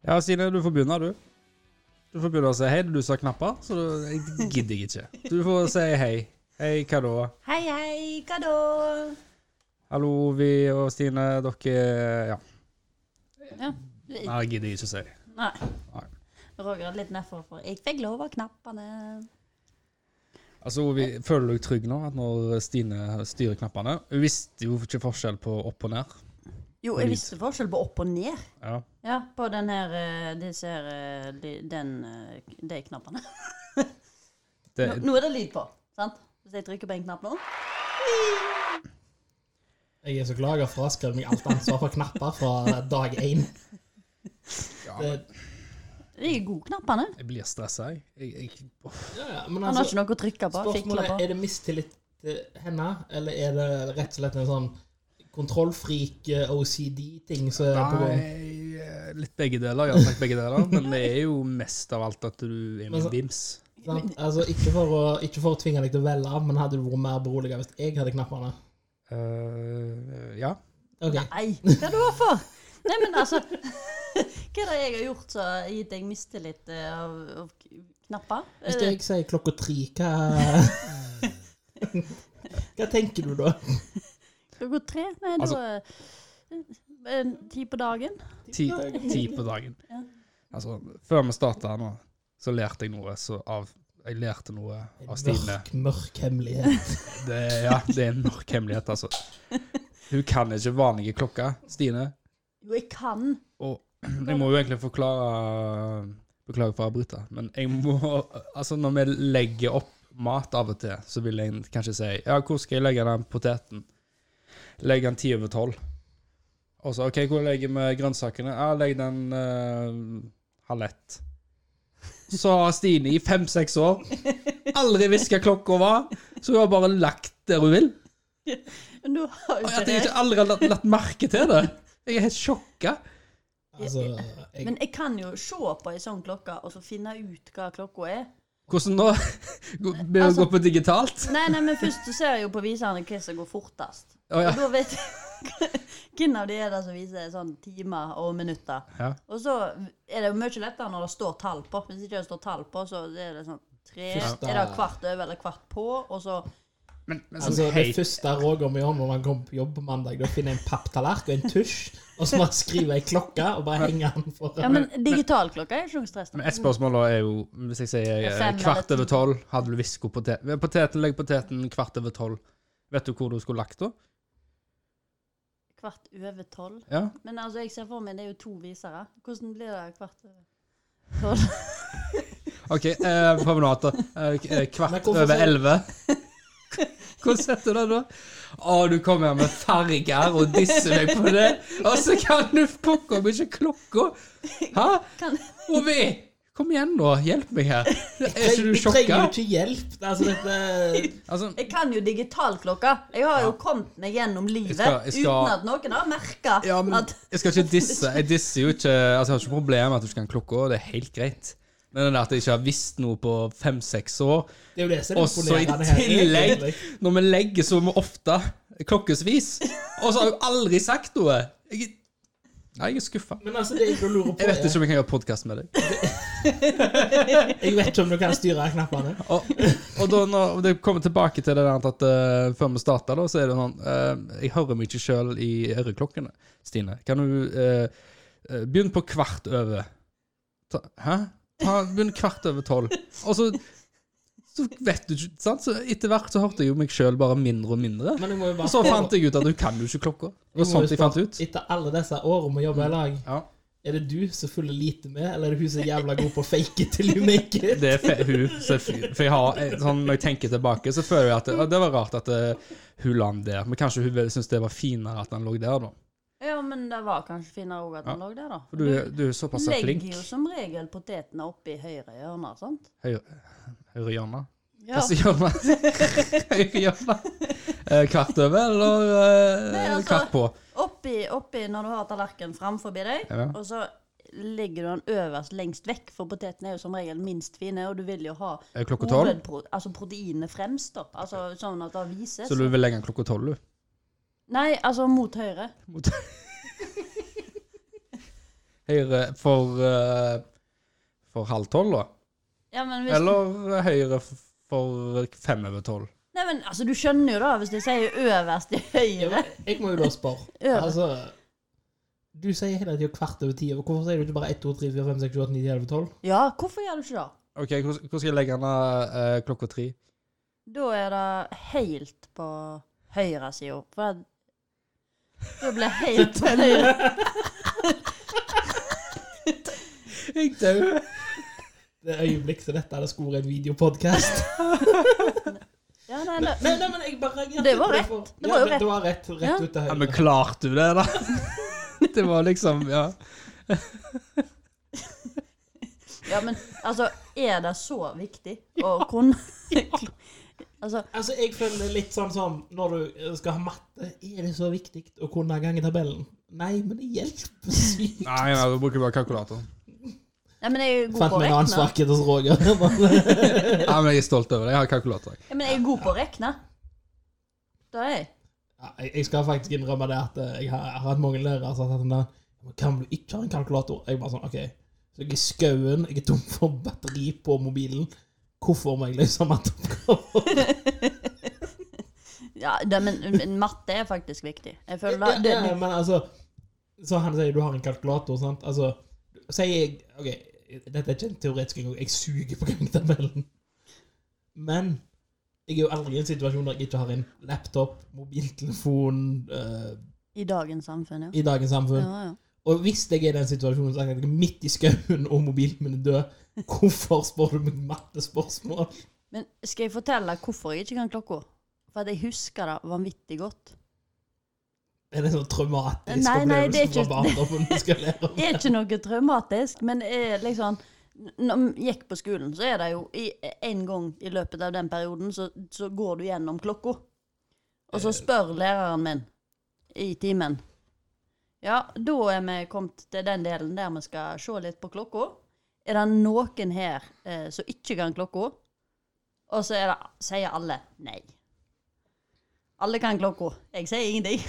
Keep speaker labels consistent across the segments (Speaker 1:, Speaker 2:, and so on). Speaker 1: Ja, Stine, du får begynne, du. Du får begynne å si hei. Du sa knapper, så du- jeg gidder jeg ikke. Du får si hei. Hei, hva da?
Speaker 2: Hei, hei, hva da?
Speaker 1: Hallo, Ovi og Stine, dere Ja,
Speaker 2: Ja.
Speaker 1: nei, jeg gidder jeg ikke å si.
Speaker 2: Nei.
Speaker 1: Nei.
Speaker 2: Roger er litt nedfor, for jeg fikk lov av knappene.
Speaker 1: Altså, Ovi, Føler du deg trygg nå, at når Stine styrer knappene? Hun visste jo ikke forskjell på opp og ned.
Speaker 2: Jo,
Speaker 1: Lyd.
Speaker 2: jeg visste forskjell på opp og ned.
Speaker 1: Ja.
Speaker 2: Ja, på den her eh, disse her eh, ly- den, eh, de knappene.
Speaker 1: Det,
Speaker 2: Nå, nå er det lyd på, sant? Hvis jeg trykker på en knapp nå.
Speaker 3: Jeg er så glad jeg har fraskrevet meg alt ansvar for knapper fra dag én.
Speaker 1: ja,
Speaker 3: Det,
Speaker 2: De er gode knappene.
Speaker 1: jeg blir stressa, jeg. jeg, jeg uff.
Speaker 3: ja, ja, men
Speaker 2: Han har
Speaker 3: altså,
Speaker 2: ikke noe å trykke på. Fikle
Speaker 3: spørsmålet
Speaker 2: på.
Speaker 3: er det mistillit til henne, eller er det rett og slett en sånn kontrollfrik eh, OCD-ting som er på gang?
Speaker 1: Nei, eh, litt begge deler. Jeg har sagt begge deler, men det er jo mest av alt at du er
Speaker 3: Men
Speaker 1: min
Speaker 3: så-
Speaker 1: bims.
Speaker 3: Sant? Altså, ikke, for å, ikke for å tvinge deg til å velge, men hadde du vært mer beroliget hvis jeg hadde knappene?
Speaker 1: Eh, ja.
Speaker 3: Ok,
Speaker 2: Nei, hva er det var for? Nei, men altså Hva er det jeg har gjort som har gitt deg mistillit eh, av, av k- knapper?
Speaker 3: Hvis
Speaker 2: Eh,
Speaker 3: jeg sier klokka tre, hva Hva tenker du da?
Speaker 2: Klokka tre? Nei,
Speaker 1: Altså-
Speaker 2: da eh, Ti på dagen?
Speaker 1: Ti, ti på dagen.
Speaker 2: Ja.
Speaker 1: Altså, før vi starta nå, så lærte jeg noe så av Jeg lærte noe av Stine.
Speaker 3: Mørk, mørk hemmelighet.
Speaker 1: Det, ja, det er en mørk hemmelighet, altså. Hun kan ikke vanlige klokker, Stine.
Speaker 2: Jo, jeg kan.
Speaker 1: Og jeg må jo egentlig forklare Beklager for å avbryte, men jeg må Altså, når vi legger opp mat av og til, så vil jeg kanskje si Ja, hvor skal jeg legge den poteten? Legg den ti over tolv. Og så OK, hvor legger vi grønnsakene? Ja, legg den eh, halv ett. Så har Stine i fem-seks år aldri visst hva klokka var, så hun har bare lagt der hun vil.
Speaker 2: Men du har jo
Speaker 1: Og at
Speaker 2: ikke
Speaker 1: jeg
Speaker 2: det.
Speaker 1: ikke aldri har latt, latt merke til det. Jeg er helt sjokka.
Speaker 3: Altså, jeg,
Speaker 2: Men jeg kan jo se på ei sånn klokke og så finne ut hva klokka er.
Speaker 1: Hvordan nå? Begynner å
Speaker 2: Altså-
Speaker 1: gå på digitalt?
Speaker 2: Nei, nei, men først så ser jeg jo på viserne hva som går fortest.
Speaker 1: Å ja.
Speaker 2: Og da vet jeg hvem av de er det som viser sånn timer og minutter.
Speaker 1: ja.
Speaker 2: Og så er det jo mye lettere når det står tall på. Hvis ikke det står tall på, så er det sånn tre
Speaker 3: Første-
Speaker 2: Er det kvart over eller kvart på, og så
Speaker 1: Men, men sånn
Speaker 3: altså, det
Speaker 1: helt
Speaker 3: første Roger må gjøre når han kommer på jobb på mandag, da finner jeg en papptallerken og en tusj, og så bare skriver jeg klokka og bare henger den
Speaker 2: Ja,
Speaker 3: foran.
Speaker 2: men digitalklokka er ikke noe stress. da.
Speaker 1: men et spørsmål da er jo Hvis jeg sier eh,
Speaker 2: Fem eller
Speaker 1: kvart
Speaker 2: ti.
Speaker 1: over tolv, hadde du visst hvor potet- Men poteten Legg poteten kvart over tolv. Vet du hvor du skulle lagt da?
Speaker 2: Kvart over tolv.
Speaker 1: Ja.
Speaker 2: Men altså, jeg ser for meg det er jo to visere. Hvordan blir det kvart over tolv?
Speaker 1: OK, eh, promenader. Eh, k- eh,
Speaker 3: Men
Speaker 1: kvart
Speaker 3: hvorfor
Speaker 1: over
Speaker 3: så-
Speaker 1: elleve. Hvordan setter du det da? Å, du kommer her med farger og disser meg på det, og så kan du plukke opp ikke klokka! Hæ?
Speaker 2: Kan-
Speaker 1: Ovi! Kom igjen, nå. Hjelp meg her. Er ikke du
Speaker 3: Jeg trenger
Speaker 1: sjokka?
Speaker 3: jo ikke hjelp. Altså, dette
Speaker 1: Altså,
Speaker 2: Jeg kan jo digitalklokka. Jeg har jo kommet meg gjennom livet
Speaker 1: skal- jeg skal-
Speaker 2: uten at noen har merka
Speaker 1: Ja, men
Speaker 2: at
Speaker 1: jeg skal ikke disse. Jeg disser jo ikke Altså, jeg har ikke problemer med at du ikke kan klokka, det er helt greit. Men det der at jeg ikke har visst noe på fem-seks år,
Speaker 3: Det er jo det som er
Speaker 1: og så i
Speaker 3: imponerende her,
Speaker 1: tillegg
Speaker 3: egentlig.
Speaker 1: Når vi legger så mye ofte, klokkesvis, og så har jeg aldri sagt noe jeg, Nei, jeg er skuffa.
Speaker 3: Men altså, det jeg da lurer på
Speaker 1: Jeg vet
Speaker 3: er
Speaker 1: ikke om jeg kan gjøre podkast med deg.
Speaker 3: Jeg vet ikke om du kan styre knappene.
Speaker 1: Og, og da, når det kommer tilbake til det der at eh, før vi starta, da, så er det sånn eh, Jeg hører meg ikke sjøl i øreklokkene, Stine. Kan du eh, eh, Begynn på kvart over. Ta, hæ? Ta, begynn kvart over tolv. Og så så vet du ikke sant? Så Etter hvert så hørte jeg jo meg sjøl bare mindre og mindre.
Speaker 3: Men jeg må jo bare
Speaker 1: Og så fant jeg ut at du kan jo ikke klokka. Det var
Speaker 3: må jo
Speaker 1: sånt jeg fant
Speaker 3: spørre,
Speaker 1: ut.
Speaker 3: Etter alle disse årene med å jobbe i lag,
Speaker 1: Ja,
Speaker 3: er det du som følger lite med, eller er det hun som er jævla god på å fake it til you make it?
Speaker 1: det er fe hun. Så, f- for jeg har, eh, sånn, når jeg tenker tilbake, så føler jeg at det, ja, det var rart at eh, hun la den der. Men kanskje hun syntes det var finere at den lå der, da.
Speaker 2: Ja, men det var kanskje finere òg at den lå der, da.
Speaker 1: For du, du er såpass flink.
Speaker 2: legger jo som regel potetene oppi høyre hjørne, sant?
Speaker 1: Høyre, høyre hjørne.
Speaker 2: Ja.
Speaker 1: Hva sier man? Høyre hjørne. Altså, Eh, Kvart over eller eh,
Speaker 2: Nei, altså-
Speaker 1: kvart på?
Speaker 2: Oppi, oppi når du har tallerkenen framfor deg,
Speaker 1: Ja.
Speaker 2: og så legger du den øverst lengst vekk, for potetene er jo som regel minst fine, og du vil jo ha
Speaker 1: Eh, Klokka tolv?
Speaker 2: hovedpro altså proteinet fremst, da. Altså sånn at det vises.
Speaker 1: Så du vil legge den klokka tolv, du?
Speaker 2: Nei, altså mot høyre.
Speaker 1: Mot- Høyre for eh, For halv tolv, da?
Speaker 2: Ja, men hvis,
Speaker 1: Eller høyre f- for fem over tolv?
Speaker 2: Nei, men altså, du skjønner jo da, hvis jeg sier øverst i høyre.
Speaker 3: Jeg må jo da spørre.
Speaker 2: Øverst.
Speaker 3: Altså, du sier hele tida kvart over ti. og Hvorfor sier du ikke bare 1, 2, 3, 4, 5, 6, 7, 8, 9, 10, 11, 12?
Speaker 2: Ja, hvorfor gjør du ikke det?
Speaker 1: OK, hvor, hvor skal jeg legge den av eh, klokka tre?
Speaker 2: Da er det helt på høyresida. For jeg- da blir jeg helt på høyre.
Speaker 1: Jeg dør.
Speaker 3: Det øyeblikk til dette hadde skulle vært en videopodkast.
Speaker 2: Ja, nei,
Speaker 3: nei,
Speaker 2: det,
Speaker 3: nei, men jeg bare reagerte
Speaker 2: Det var
Speaker 3: på
Speaker 2: rett.
Speaker 3: for-
Speaker 2: Det var jo
Speaker 3: ja,
Speaker 2: rett.
Speaker 3: Det var rett, rett
Speaker 2: Ja.
Speaker 3: ut
Speaker 1: Ja,
Speaker 3: til høyre.
Speaker 1: men klarte du det, da? Det var liksom Ja.
Speaker 2: ja, men altså, er det så viktig å kunne Altså,
Speaker 3: Altså, jeg føler det er litt sånn som når du eh, skal ha matte. Er det så viktig å kunne gangetabellen? Nei, men det hjelper sykt.
Speaker 1: Nei, nei, du bruker bare kalkulator.
Speaker 2: nei, men jeg er god
Speaker 3: Fant
Speaker 2: på å
Speaker 3: meg en annen
Speaker 2: regne.
Speaker 3: svakhet hos Roger.
Speaker 1: Ja, men jeg er stolt over det. Jeg har kalkulator. jeg.
Speaker 2: Ja, men jeg er god på å regne. Det er jeg.
Speaker 3: Ja, jeg jeg skal faktisk innrømme det at eh, jeg har, jeg har hatt mange lærere som har sagt sånn der, «Men Kan du ikke ha en kalkulator? Jeg bare sånn, ok. Så jeg er i skauen, jeg er tom for batteri på mobilen. Hvorfor må jeg løse matteoppgaver?
Speaker 2: Ja, det, men, men matte er faktisk viktig. Jeg føler
Speaker 3: Ja,
Speaker 2: det, det,
Speaker 3: ja, men altså Så han sier du har en kalkulator, sant? Altså, sier jeg OK, dette er ikke en teoretisk engang, jeg suger på gangtabellen. Men jeg er jo aldri i en situasjon der jeg ikke har en laptop, mobiltelefon eh,
Speaker 2: I dagens samfunn, ja.
Speaker 3: i dagens samfunn.
Speaker 2: ja, ja.
Speaker 3: Og hvis jeg er i den situasjonen så er jeg midt i skauen og mobilen min er død, hvorfor spør du meg mattespørsmål?
Speaker 2: Men skal jeg fortelle hvorfor jeg ikke kan klokka? For at jeg husker det vanvittig godt.
Speaker 3: Er det en sånn traumatisk
Speaker 2: Nei, nei, det er
Speaker 3: opplevelse fra
Speaker 2: ikke-
Speaker 3: barndommen vi skal lære om?
Speaker 2: Det er ikke noe traumatisk, men er liksom Når vi gikk på skolen, så er det jo i, en gang i løpet av den perioden så, så går du gjennom klokka. Og så spør læreren min i timen Ja, da er vi kommet til den delen der vi skal se litt på klokka. Er det noen her eh, som ikke kan klokka? Og så er det, sier alle nei. Alle kan klokka. Jeg sier ingenting.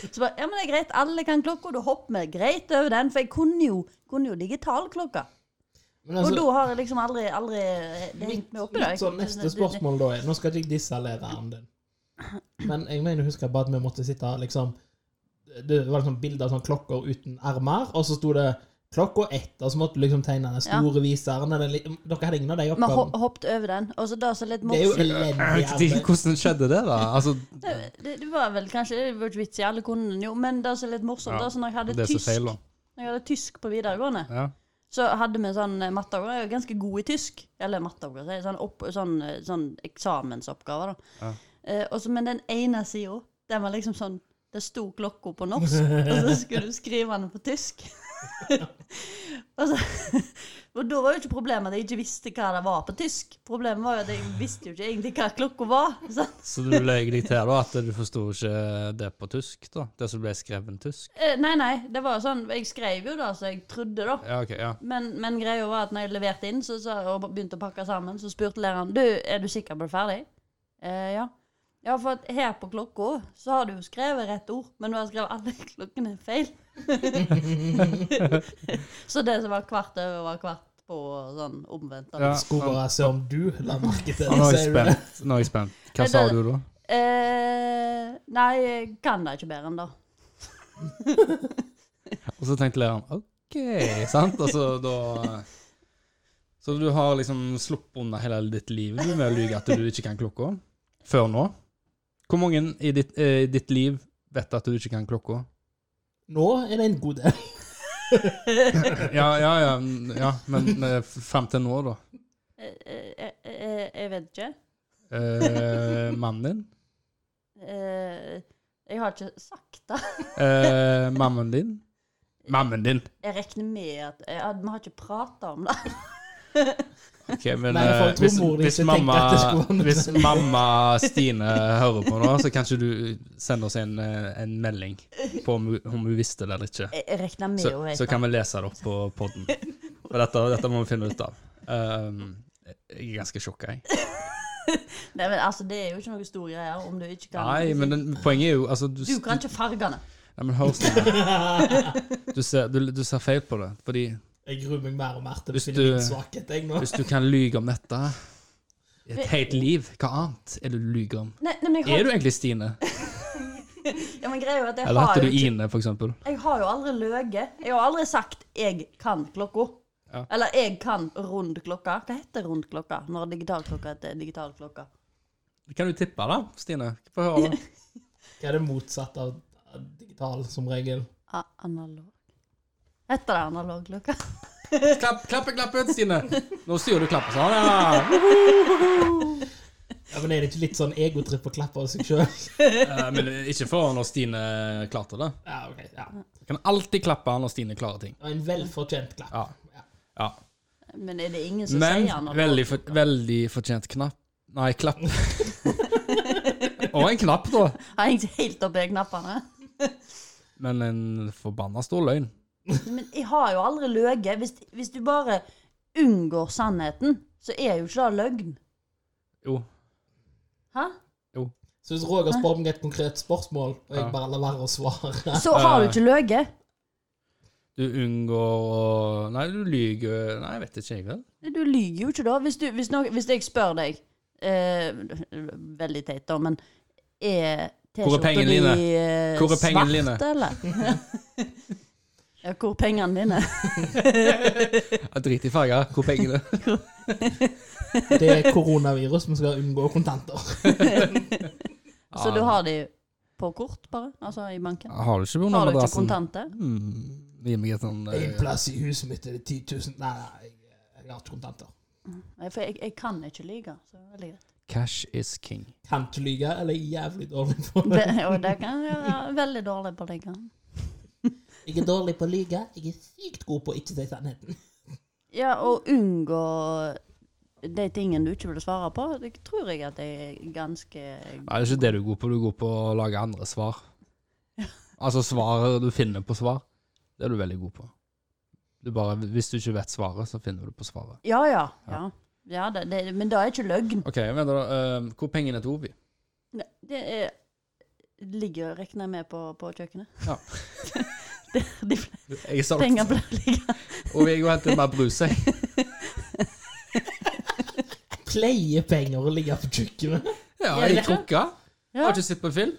Speaker 2: Så bare, ja, men det er greit, alle kan klokka, da hopper vi greit over den, for jeg kunne jo, kunne jo digitalklokka.
Speaker 3: Men
Speaker 2: Og
Speaker 3: altså-
Speaker 2: da har jeg liksom aldri, aldri det hengt meg opp i det.
Speaker 3: Litt sånn neste spørsmål da er Nå skal ikke jeg disse læreren din. Men jeg mener, husker jeg bare at vi måtte sitte liksom Det var liksom bilder av sånn klokker uten armer, og så sto det klokka ett, og så måtte du liksom tegne den store viseren eller li- Dere hadde ingen av de
Speaker 2: Vi har
Speaker 3: oppgavene.
Speaker 2: ho- hoppet over den. Og så da så litt
Speaker 3: Det er jo
Speaker 2: morsomt.
Speaker 3: elendig arbeid.
Speaker 1: Hvordan skjedde det, da? Altså,
Speaker 2: Det, det, det var vel kanskje Det var ikke vits i alle kundene, jo, men det som er litt morsomt,
Speaker 1: Ja,
Speaker 2: da, så når jeg hadde
Speaker 1: det er så
Speaker 2: tysk
Speaker 1: feil, da.
Speaker 2: Når jeg hadde tysk på videregående,
Speaker 1: Ja.
Speaker 2: så hadde vi sånn eh, matteoppgave. Jeg er ganske god i tysk. Eller matteoppgave, sier jeg, sånn, opp, sånn, eh, sånn eksamensoppgave, da.
Speaker 1: Ja.
Speaker 2: Eh, og så- men den ene sida, den var liksom sånn Det sto klokka på norsk, og så skulle du skrive den på tysk. og, så, og da var jo ikke problemet at jeg ikke visste hva det var på tysk. Problemet var jo at jeg visste jo ikke egentlig hva klokka var. sant?
Speaker 1: Så du løy deg til da, at du forsto ikke det på tysk? da? Det som ble skrevet tysk?
Speaker 2: Eh, nei, nei, det var jo sånn Jeg skrev jo det som jeg trodde, da.
Speaker 1: Ja, ok, ja.
Speaker 2: Men, men greia var at når jeg leverte inn så, sa- og begynte å pakke sammen, så spurte læreren du, er du sikker på det ferdig. Eh, ja. ja, for at her på klokka så har du jo skrevet rett ord, men du har skrevet alle klokkene feil. så det som var kvart over, var kvart på og sånn omvendt. da.
Speaker 1: Ja.
Speaker 3: Skulle bare se om du la merke til
Speaker 1: Nå er jeg
Speaker 3: Ser du det.
Speaker 1: spent. Nå er jeg spent. Hva sa du da?
Speaker 2: Eh, nei, jeg kan det ikke bedre enn det.
Speaker 1: Og så tenkte læreren OK, sant? Altså, da Så du har liksom sluppet unna hele ditt liv du, med å lyve at du ikke kan klokka? Før nå? Hvor mange i ditt, eh, i ditt liv vet at du ikke kan klokka?
Speaker 3: Nå er det en god del.
Speaker 1: Ja, ja, ja, ja men eh, f- fram til nå, da?
Speaker 2: Eh, eh, eh, eh, jeg vet ikke.
Speaker 1: Eh, mannen din?
Speaker 2: Eh, jeg har ikke sagt det.
Speaker 1: Eh, mammen din? Mammen din!
Speaker 2: Jeg regner med at jeg, Vi har ikke prata om det.
Speaker 1: Ok, men
Speaker 3: Nei, for jeg
Speaker 1: eh,
Speaker 3: tror
Speaker 1: hvis,
Speaker 3: mor di
Speaker 1: hvis,
Speaker 3: ikke tenkte
Speaker 1: mamma,
Speaker 3: at det skulle være noe
Speaker 1: hvis
Speaker 3: sånt.
Speaker 1: mamma Stine hører på nå, så kanskje du sender oss en, eh, en melding på om, hun- om hun visste det eller ikke.
Speaker 2: Jeg jeg regner med
Speaker 1: Så,
Speaker 2: å vite.
Speaker 1: så kan vi lese det opp på podden. Og dette, dette må vi finne ut av. Um, jeg er ganske sjokka, jeg.
Speaker 2: Nei, men altså, det er jo ikke noe stor greie om du ikke kan
Speaker 1: Nei, men den, poenget er jo altså, du,
Speaker 2: Du kan ikke fargene.
Speaker 1: Nei, men hør sånn her. Du ser, du, du ser feil på det. Fordi
Speaker 3: Jeg gruer meg mer og mer til å
Speaker 1: Hvis
Speaker 3: finne
Speaker 1: du-
Speaker 3: min svakhet, jeg nå.
Speaker 1: hvis du kan lyge om dette i et helt liv, hva annet er det du lyger om?
Speaker 2: Nei, nei, men jeg
Speaker 1: Er
Speaker 2: har,
Speaker 1: du egentlig Stine?
Speaker 2: ja, men greia er at jeg
Speaker 1: Eller
Speaker 2: har
Speaker 1: heter
Speaker 2: jo
Speaker 1: du Ine, for eksempel?
Speaker 2: Jeg har jo aldri løyet. Jeg har aldri sagt 'jeg kan klokka'.
Speaker 1: Ja.
Speaker 2: Eller 'jeg kan rund klokka'. Hva heter rund klokka når digitalklokka heter digitalklokka?
Speaker 1: Kan du tippe, da, Stine? Få høre.
Speaker 3: Hva er det motsatte av av digital, som regel?
Speaker 2: A analog. Heter det analog klokka?
Speaker 1: Klapp, klappe, klappe ut, Stine! Nå styrer du klappet sånn. Ja.
Speaker 3: Ja, men Er det ikke litt sånn egotripp å klappe av seg sjøl?
Speaker 1: Eh, Men ikke for når Stine klarte det.
Speaker 3: Ja, ok, ja.
Speaker 1: Du kan alltid klappe når Stine klarer ting.
Speaker 3: Det var en velfortjent klapp.
Speaker 1: Ja. ja.
Speaker 2: Men er det ingen som
Speaker 1: Men
Speaker 2: sier analog?
Speaker 1: veldig, for, veldig fortjent knapp. Nei, klapp. Og en knapp, da.
Speaker 2: Har hengt helt oppi knappene?
Speaker 1: Men en forbanna stor løgn.
Speaker 2: Men jeg har jo aldri løyet. Hvis, hvis du bare unngår sannheten, så er jo ikke det løgn.
Speaker 1: Jo.
Speaker 2: Hæ?
Speaker 3: Så hvis Roger spør meg et konkret spørsmål, og jeg
Speaker 1: Ja.
Speaker 3: bare lar være å svare
Speaker 2: Så har du ikke løyet.
Speaker 1: Du unngår å Nei, du lyver Nei, jeg vet ikke, jeg vel.
Speaker 2: Du lyver jo ikke da. Hvis, du, hvis, noe- hvis jeg spør deg eh, Veldig teit, da, men er
Speaker 1: Hvor er pengene
Speaker 2: di
Speaker 1: dine?
Speaker 2: eh,
Speaker 1: Hvor er pengene
Speaker 2: svart,
Speaker 1: dine?
Speaker 2: eller? ja, hvor er pengene dine?
Speaker 1: Ja, Drit i farger. Hvor pengene er.
Speaker 3: Det er koronavirus, vi skal unngå kontanter.
Speaker 2: Så
Speaker 1: Ah.
Speaker 2: du har de på kort, bare? Altså i banken?
Speaker 1: Har Ah, du ikke på
Speaker 2: Har du ikke
Speaker 1: madrassen?
Speaker 2: kontanter?
Speaker 1: Hmm, Gi meg et sånn
Speaker 3: En
Speaker 1: eh,
Speaker 3: plass i huset mitt er det 10 000 Nei, nei, jeg, jeg har ikke kontanter.
Speaker 2: Nei, For jeg, jeg kan ikke lyve. så det er veldig greit.
Speaker 1: Cash is king.
Speaker 3: Kan ikke lyve, eller er jævlig dårlig på det.
Speaker 2: Det- Og det kan jeg være veldig dårlig på. Det. kan.
Speaker 3: Jeg er dårlig på å lyve. Jeg er sykt god på å ikke si sannheten.
Speaker 2: Ja, og unngå de tingene du ikke vil svare på, det tror jeg at jeg er ganske
Speaker 1: Nei, det er ikke det du er god på. Du er god på å lage andre svar. Altså svaret du finner på svar. Det er du veldig god på. Du bare, hvis du ikke vet svaret, så finner du på svaret.
Speaker 2: Ja, ja. ja. ja det, det, men det er ikke løgn.
Speaker 1: OK, vent da. eh, hvor er pengene til Ovi?
Speaker 2: Det, det er, ligger, regner jeg med, på, på kjøkkenet.
Speaker 1: Ja.
Speaker 2: det, de ble-
Speaker 1: Jeg er solgt.
Speaker 2: penger pleier å ligge
Speaker 1: Ovi, jeg går og henter mer brus, jeg.
Speaker 3: Pleier penger å ligge på kjøkkenet.
Speaker 1: Ja,
Speaker 2: Gjør
Speaker 1: jeg
Speaker 2: det?
Speaker 1: koker. Jeg
Speaker 2: Ja.
Speaker 1: har ikke sett på film.